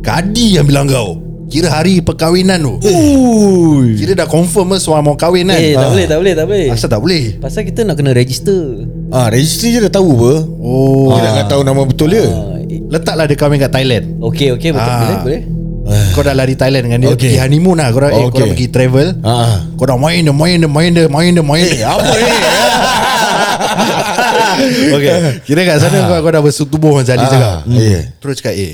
[SPEAKER 1] Kadi yang bilang kau Kira hari perkahwinan tu
[SPEAKER 2] Eh.
[SPEAKER 4] Ui.
[SPEAKER 1] Kira dah confirm lah Semua mau kahwin kan
[SPEAKER 3] Eh tak
[SPEAKER 1] Ah.
[SPEAKER 3] boleh tak boleh tak boleh
[SPEAKER 1] Asal tak boleh
[SPEAKER 3] Pasal kita nak kena register
[SPEAKER 2] Ah, registry je dah tahu apa.
[SPEAKER 1] Oh
[SPEAKER 2] Dia nak tahu nama betul dia.
[SPEAKER 3] Ah, eh,
[SPEAKER 1] Letaklah dia kahwin kat Thailand
[SPEAKER 3] Okay okay betul
[SPEAKER 1] Ah.
[SPEAKER 3] boleh boleh
[SPEAKER 1] Kau dah lari Thailand dengan dia
[SPEAKER 2] Eh. Okay.
[SPEAKER 1] Pergi honeymoon lah Korang, eh,
[SPEAKER 2] Okay.
[SPEAKER 1] korang pergi travel
[SPEAKER 2] Ha. Eh, Ah.
[SPEAKER 1] Kau dah main dia Main dia Main dia Main dia Main dia
[SPEAKER 2] Apa ni?
[SPEAKER 1] Okay Kira kat sana kau, kau dah bersetubuh Macam Ali cakap
[SPEAKER 2] Ah, ya.
[SPEAKER 1] Terus cakap Eh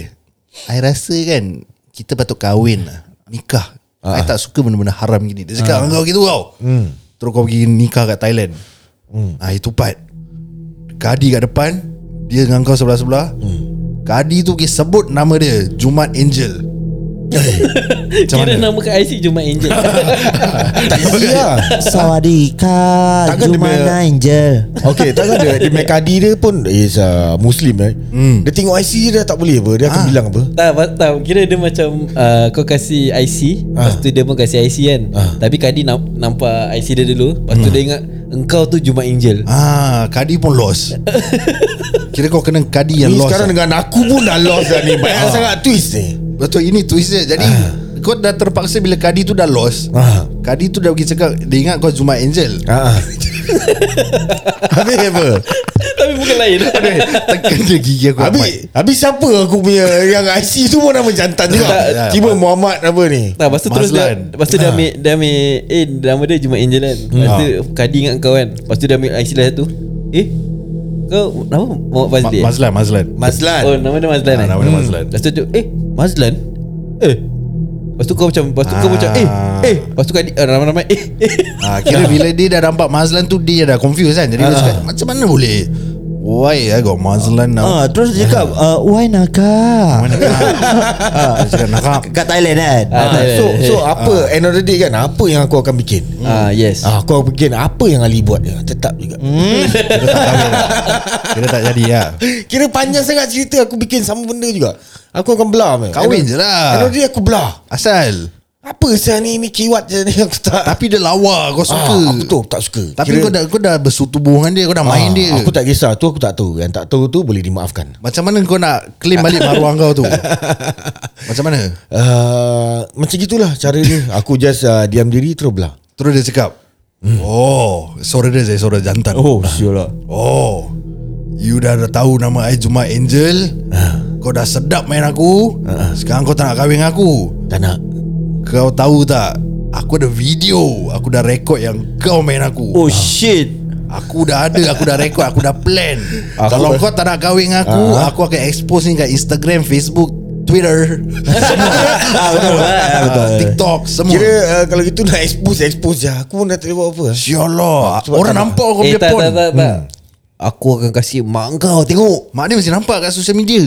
[SPEAKER 1] I rasa kan Kita patut kahwin lah Nikah uh.
[SPEAKER 2] Ah.
[SPEAKER 1] I tak suka benda-benda haram gini Dia cakap uh. kau gitu kau hmm. Terus kau pergi nikah kat Thailand hmm. ah, Itu part Kadi kat depan Dia dengan kau sebelah-sebelah hmm. Kadi tu pergi sebut nama dia Jumat Angel Macam
[SPEAKER 3] Kira
[SPEAKER 1] mana?
[SPEAKER 3] nama kat IC Jumat Angel
[SPEAKER 2] Tak kasi lah.
[SPEAKER 4] Sawadika
[SPEAKER 2] Takkan dia
[SPEAKER 4] Jumat
[SPEAKER 2] punya-
[SPEAKER 4] Angel.
[SPEAKER 2] Okay takkan dia Dia punya kadi dia pun Is uh, Muslim eh Dia tengok IC je dia tak boleh apa Dia akan bilang apa
[SPEAKER 3] Tak pa- tak Kira dia macam ah, Kau kasih IC
[SPEAKER 1] Ah.
[SPEAKER 3] Lepas tu dia pun kasih IC kan Tapi Kadi nam- nampak IC dia dulu Lepas tu
[SPEAKER 1] Hmm.
[SPEAKER 3] dia ingat Engkau tu Jumat Angel
[SPEAKER 1] Ah, Kadi pun lost Kira kau kena Kadi yang
[SPEAKER 2] Ni
[SPEAKER 1] lost
[SPEAKER 2] sekarang
[SPEAKER 1] lah.
[SPEAKER 2] dengan aku pun dah lost dah ni Banyak sangat twist ni
[SPEAKER 1] Betul ini twist dia Jadi Kau dah terpaksa bila Kadi tu dah lost
[SPEAKER 2] Ah.
[SPEAKER 1] Kadi tu dah pergi cakap Dia ingat kau Jumat Angel
[SPEAKER 2] Ah. Habis apa
[SPEAKER 1] Ah.
[SPEAKER 3] Tapi bukan lain
[SPEAKER 1] Tekan je gigi aku
[SPEAKER 2] Habis Habis siapa aku punya Yang IC tu pun nama jantan juga
[SPEAKER 1] Tak.
[SPEAKER 2] Tiba Muhammad apa ni
[SPEAKER 3] Tak, lepas tu terus dia,
[SPEAKER 1] Mazlan. Ah.
[SPEAKER 3] lepas tu dia ambil, dia ambil, eh nama dia Jumat Angel kan. Lepas
[SPEAKER 1] Hmm.
[SPEAKER 3] tu Kadi ingat kau kan. Lepas tu dia ambil IC lah satu. Eh, kau nama Muhammad Fazli?
[SPEAKER 1] Ma-
[SPEAKER 3] eh?
[SPEAKER 1] Mazlan Mazlan
[SPEAKER 2] Mazlan
[SPEAKER 3] Oh, nama dia Mazlan
[SPEAKER 1] Ah,
[SPEAKER 3] eh?
[SPEAKER 1] nama dia Mazlan.
[SPEAKER 3] Lepas tu dia, eh, Mazlan? Eh. Lepas tu kau macam, lepas tu kau
[SPEAKER 1] Ah.
[SPEAKER 3] macam, eh, eh. Lepas tu Kadi, ah, nama-nama, eh, eh.
[SPEAKER 1] ha, Kira bila dia dah nampak Mazlan tu Dia dah confused kan Jadi dia cakap Macam mana boleh Why I got Mazlan now Ah,
[SPEAKER 4] Ah, terus dia
[SPEAKER 2] Eh.
[SPEAKER 4] cakap uh, why naka?
[SPEAKER 1] Mana kena Dia cakap nakap
[SPEAKER 4] Kat Thailand kan.
[SPEAKER 3] Ah, tak,
[SPEAKER 2] So
[SPEAKER 3] tak,
[SPEAKER 2] so
[SPEAKER 3] tak.
[SPEAKER 2] apa End of the day kan Apa yang aku akan bikin
[SPEAKER 1] Hmm.
[SPEAKER 3] Ah, yes.
[SPEAKER 2] Ah, Aku akan bikin Apa yang Ali buat dia Tetap juga
[SPEAKER 1] Kira tak kahwin lah. Kira tak jadi lah
[SPEAKER 2] Kira panjang sangat cerita Aku bikin sama benda juga Aku akan belah man.
[SPEAKER 1] Kahwin je lah.
[SPEAKER 2] End of the day aku belah
[SPEAKER 1] Asal
[SPEAKER 2] Apa saya ni Ni kiwat je ni Aku tak
[SPEAKER 1] Tapi dia lawa Kau suka
[SPEAKER 2] ah, Aku tu aku tak suka Ah,
[SPEAKER 1] Tapi kau dah kau dah bersetubuh dengan dia Kau dah main dia
[SPEAKER 2] Aku tak kisah Tu aku tak tahu Yang tak tahu tu Boleh dimaafkan
[SPEAKER 1] Macam mana kau nak Claim balik maruah kau tu Macam mana
[SPEAKER 2] uh, Macam gitulah Cara dia Aku just uh, Diam diri terus belah
[SPEAKER 1] Terus dia cakap Oh Suara dia saya suara jantan Oh,
[SPEAKER 4] sure lah.
[SPEAKER 1] You dah, dah tahu nama I Jumat Angel Kau dah sedap main aku Sekarang kau tak nak kahwin dengan aku
[SPEAKER 2] Tak nak
[SPEAKER 1] Kau tahu tak Aku ada video Aku dah rekod yang kau main aku
[SPEAKER 4] Oh shit.
[SPEAKER 1] Aku dah ada Aku dah rekod Aku dah plan Kalau kau tak nak kahwin dengan aku Aku akan expose ni kat Instagram Facebook Twitter
[SPEAKER 4] ah, betul, ah, betul.
[SPEAKER 1] TikTok Semua
[SPEAKER 2] Kira uh, kalau gitu Nak expose Expose je Aku pun dah tak boleh buat apa
[SPEAKER 1] Syallah
[SPEAKER 2] Sebab
[SPEAKER 1] Orang
[SPEAKER 2] tak
[SPEAKER 1] nampak kau
[SPEAKER 3] Eh,
[SPEAKER 1] punya
[SPEAKER 3] tak,
[SPEAKER 1] pon
[SPEAKER 3] tak, tak, tak. Aku akan kasih mak kau tengok.
[SPEAKER 1] Mak dia mesti nampak kat social media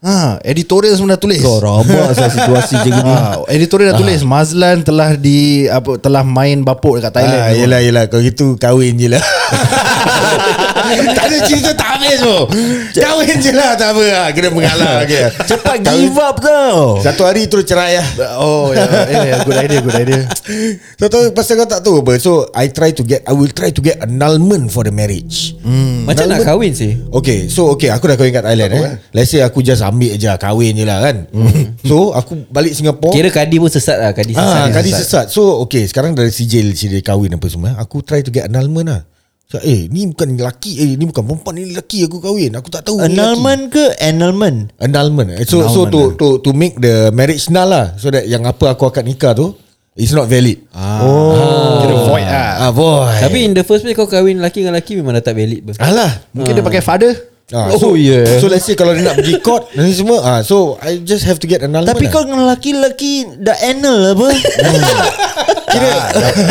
[SPEAKER 1] Ha, editorial semua dah tulis.
[SPEAKER 4] Kau rabak saya situasi je gini.
[SPEAKER 2] Ah.
[SPEAKER 1] Ha, editorial dah tulis Mazlan telah di apa telah main bapuk dekat Thailand.
[SPEAKER 2] Ah, yelah yelah Kau gitu kahwin je lah Tak ada cerita tak habis pun Kahwin je lah tak apa lah. Kena mengalah okay.
[SPEAKER 4] Cepat give up tau.
[SPEAKER 2] Satu hari terus cerai lah
[SPEAKER 1] Oh, ya, yeah, yeah, good idea, good idea.
[SPEAKER 2] So tahu pasal kau tak tahu apa So I try to get I will try to get annulment for the marriage hmm.
[SPEAKER 3] Macam nak kahwin sih
[SPEAKER 2] Okay so okay Aku dah kahwin kat Thailand eh. Let's say aku just ambil je Kahwin je lah kan So aku balik Singapore
[SPEAKER 3] Kira Kadi pun sesat lah Kadi sesat
[SPEAKER 2] Ah,
[SPEAKER 3] dia
[SPEAKER 2] kali sesat. So okay, sekarang dari sijil sijil kahwin apa semua, eh, aku try to get annulment lah. So, eh, ni bukan lelaki, eh, ni bukan perempan, ni lelaki aku kahwin. Aku tak tahu ni lelaki.
[SPEAKER 4] Annulment ke annulment?
[SPEAKER 2] Annulment. eh. So so to to to make the marriage null lah. So that yang apa aku akad nikah tu is not valid. Ah.
[SPEAKER 1] Oh. Kira void lah.
[SPEAKER 2] Ah, boy.
[SPEAKER 3] Tapi in the first place Kau kahwin lelaki dengan lelaki Memang dah tak valid pun
[SPEAKER 2] alah.
[SPEAKER 1] Mungkin dia pakai father.
[SPEAKER 2] Ah,
[SPEAKER 3] Oh,
[SPEAKER 2] so,
[SPEAKER 3] yeah.
[SPEAKER 2] So let's say kalau dia nak pergi court dan ni semua, ah, so I just have to get annulment. lah.
[SPEAKER 4] Tapi
[SPEAKER 2] Hmm.
[SPEAKER 4] kau dengan lelaki-lelaki dah anal apa?
[SPEAKER 2] kira,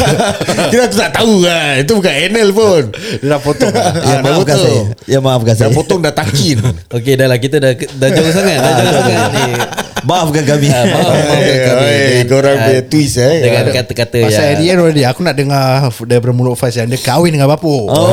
[SPEAKER 2] kira aku Ah, tak tahu lah. Itu bukan anal pun.
[SPEAKER 1] Dia dah potong.
[SPEAKER 4] ya
[SPEAKER 2] dah
[SPEAKER 4] maafkan
[SPEAKER 2] potong.
[SPEAKER 4] saya. Ya maafkan
[SPEAKER 2] Dah
[SPEAKER 4] saya.
[SPEAKER 2] potong dah takin.
[SPEAKER 3] Okay dah lah Kita dah, dah jauh sangat Dah Ah, jauh sangat ni
[SPEAKER 4] Maafkan kami.
[SPEAKER 3] maaf.
[SPEAKER 2] Eh,
[SPEAKER 3] kami.
[SPEAKER 2] eh, korang
[SPEAKER 3] Ah,
[SPEAKER 2] punya twist eh.
[SPEAKER 3] Dengan kata-kata
[SPEAKER 1] Pasal at the end
[SPEAKER 3] yang
[SPEAKER 1] already Aku nak dengar Daripada mulut Faiz yang Dia kahwin dengan bapuk oh.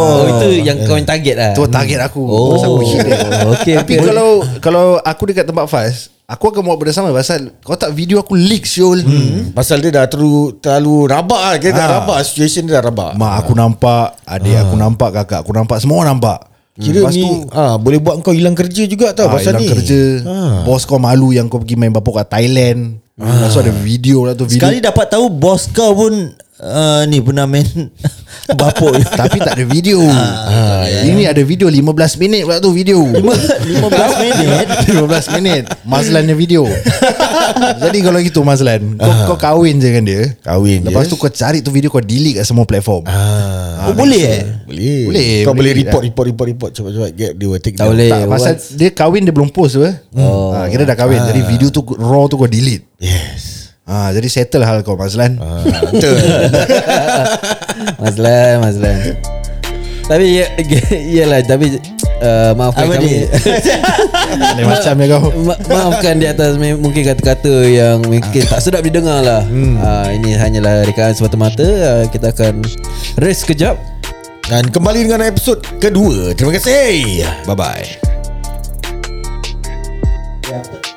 [SPEAKER 3] Oh, itu yang kau yang target lah
[SPEAKER 1] Itu target aku
[SPEAKER 3] Oh.
[SPEAKER 1] Terus aku hit dia.
[SPEAKER 3] Okay,
[SPEAKER 1] Tapi
[SPEAKER 3] okay.
[SPEAKER 1] kalau Kalau aku dekat tempat Faiz Aku akan buat benda sama Pasal Kau tak video aku leak Syul hmm.
[SPEAKER 2] Pasal dia dah terlalu, terlalu rabak lah. Kita dah
[SPEAKER 1] Ah.
[SPEAKER 2] rabak. Situation dia dah rabak.
[SPEAKER 1] Mak aku nampak Adik aku nampak Kakak aku nampak Semua orang nampak
[SPEAKER 2] Kira
[SPEAKER 1] Lepas
[SPEAKER 2] ni
[SPEAKER 1] tu
[SPEAKER 2] ah, boleh buat kau hilang kerja juga tau
[SPEAKER 1] ah, Pasal
[SPEAKER 2] pasal ni.
[SPEAKER 1] kerja Ah. Bos kau malu Yang kau pergi main bapuk kat Thailand
[SPEAKER 2] Ah.
[SPEAKER 1] Lepas tu ada video lah tu video.
[SPEAKER 4] Sekali dapat tahu bos kau pun uh, ni pernah main bapuk.
[SPEAKER 1] Tapi tak ada video
[SPEAKER 2] Ah,
[SPEAKER 1] Ah,
[SPEAKER 2] ya.
[SPEAKER 1] Ini ada video 15 minit pula tu video
[SPEAKER 4] 15 minit.
[SPEAKER 1] 15 minit Mazlannya video Jadi kalau gitu Mazlan kau, kau kahwin je dengan dia
[SPEAKER 2] Ah. Kahwin
[SPEAKER 1] Lepas tu
[SPEAKER 2] je.
[SPEAKER 1] kau cari tu video Kau delete kat semua platform
[SPEAKER 2] Ah,
[SPEAKER 4] Oh, boleh eh?
[SPEAKER 2] boleh.
[SPEAKER 1] Boleh,
[SPEAKER 2] Kau
[SPEAKER 1] boleh
[SPEAKER 2] boleh, report, report, report, report. Cepat-cepat get dia take
[SPEAKER 3] Tak
[SPEAKER 2] down.
[SPEAKER 3] boleh
[SPEAKER 1] Tak pasal
[SPEAKER 3] Once-
[SPEAKER 1] Dia kahwin dia belum post tu eh
[SPEAKER 3] Oh.
[SPEAKER 1] ha, Kira dah kahwin
[SPEAKER 2] Ah.
[SPEAKER 1] Jadi video tu Raw tu kau delete
[SPEAKER 2] Yes.
[SPEAKER 1] ha, Jadi settle hal kau Mazlan
[SPEAKER 2] Ah, betul.
[SPEAKER 3] Mazlan Mazlan Tapi ya, Iyalah Tapi uh, Maafkan
[SPEAKER 4] Apa
[SPEAKER 3] kami
[SPEAKER 4] ni?
[SPEAKER 1] Lain macam dia kau
[SPEAKER 3] Ma- Maafkan di atas me- Mungkin kata-kata Yang mungkin tak sedap didengar lah Ah, Ini hanyalah Rekaan semata-mata Ah, Kita akan Rest sekejap
[SPEAKER 2] Dan kembali dengan episod kedua. Terima kasih. Bye-bye.
[SPEAKER 4] Yeah.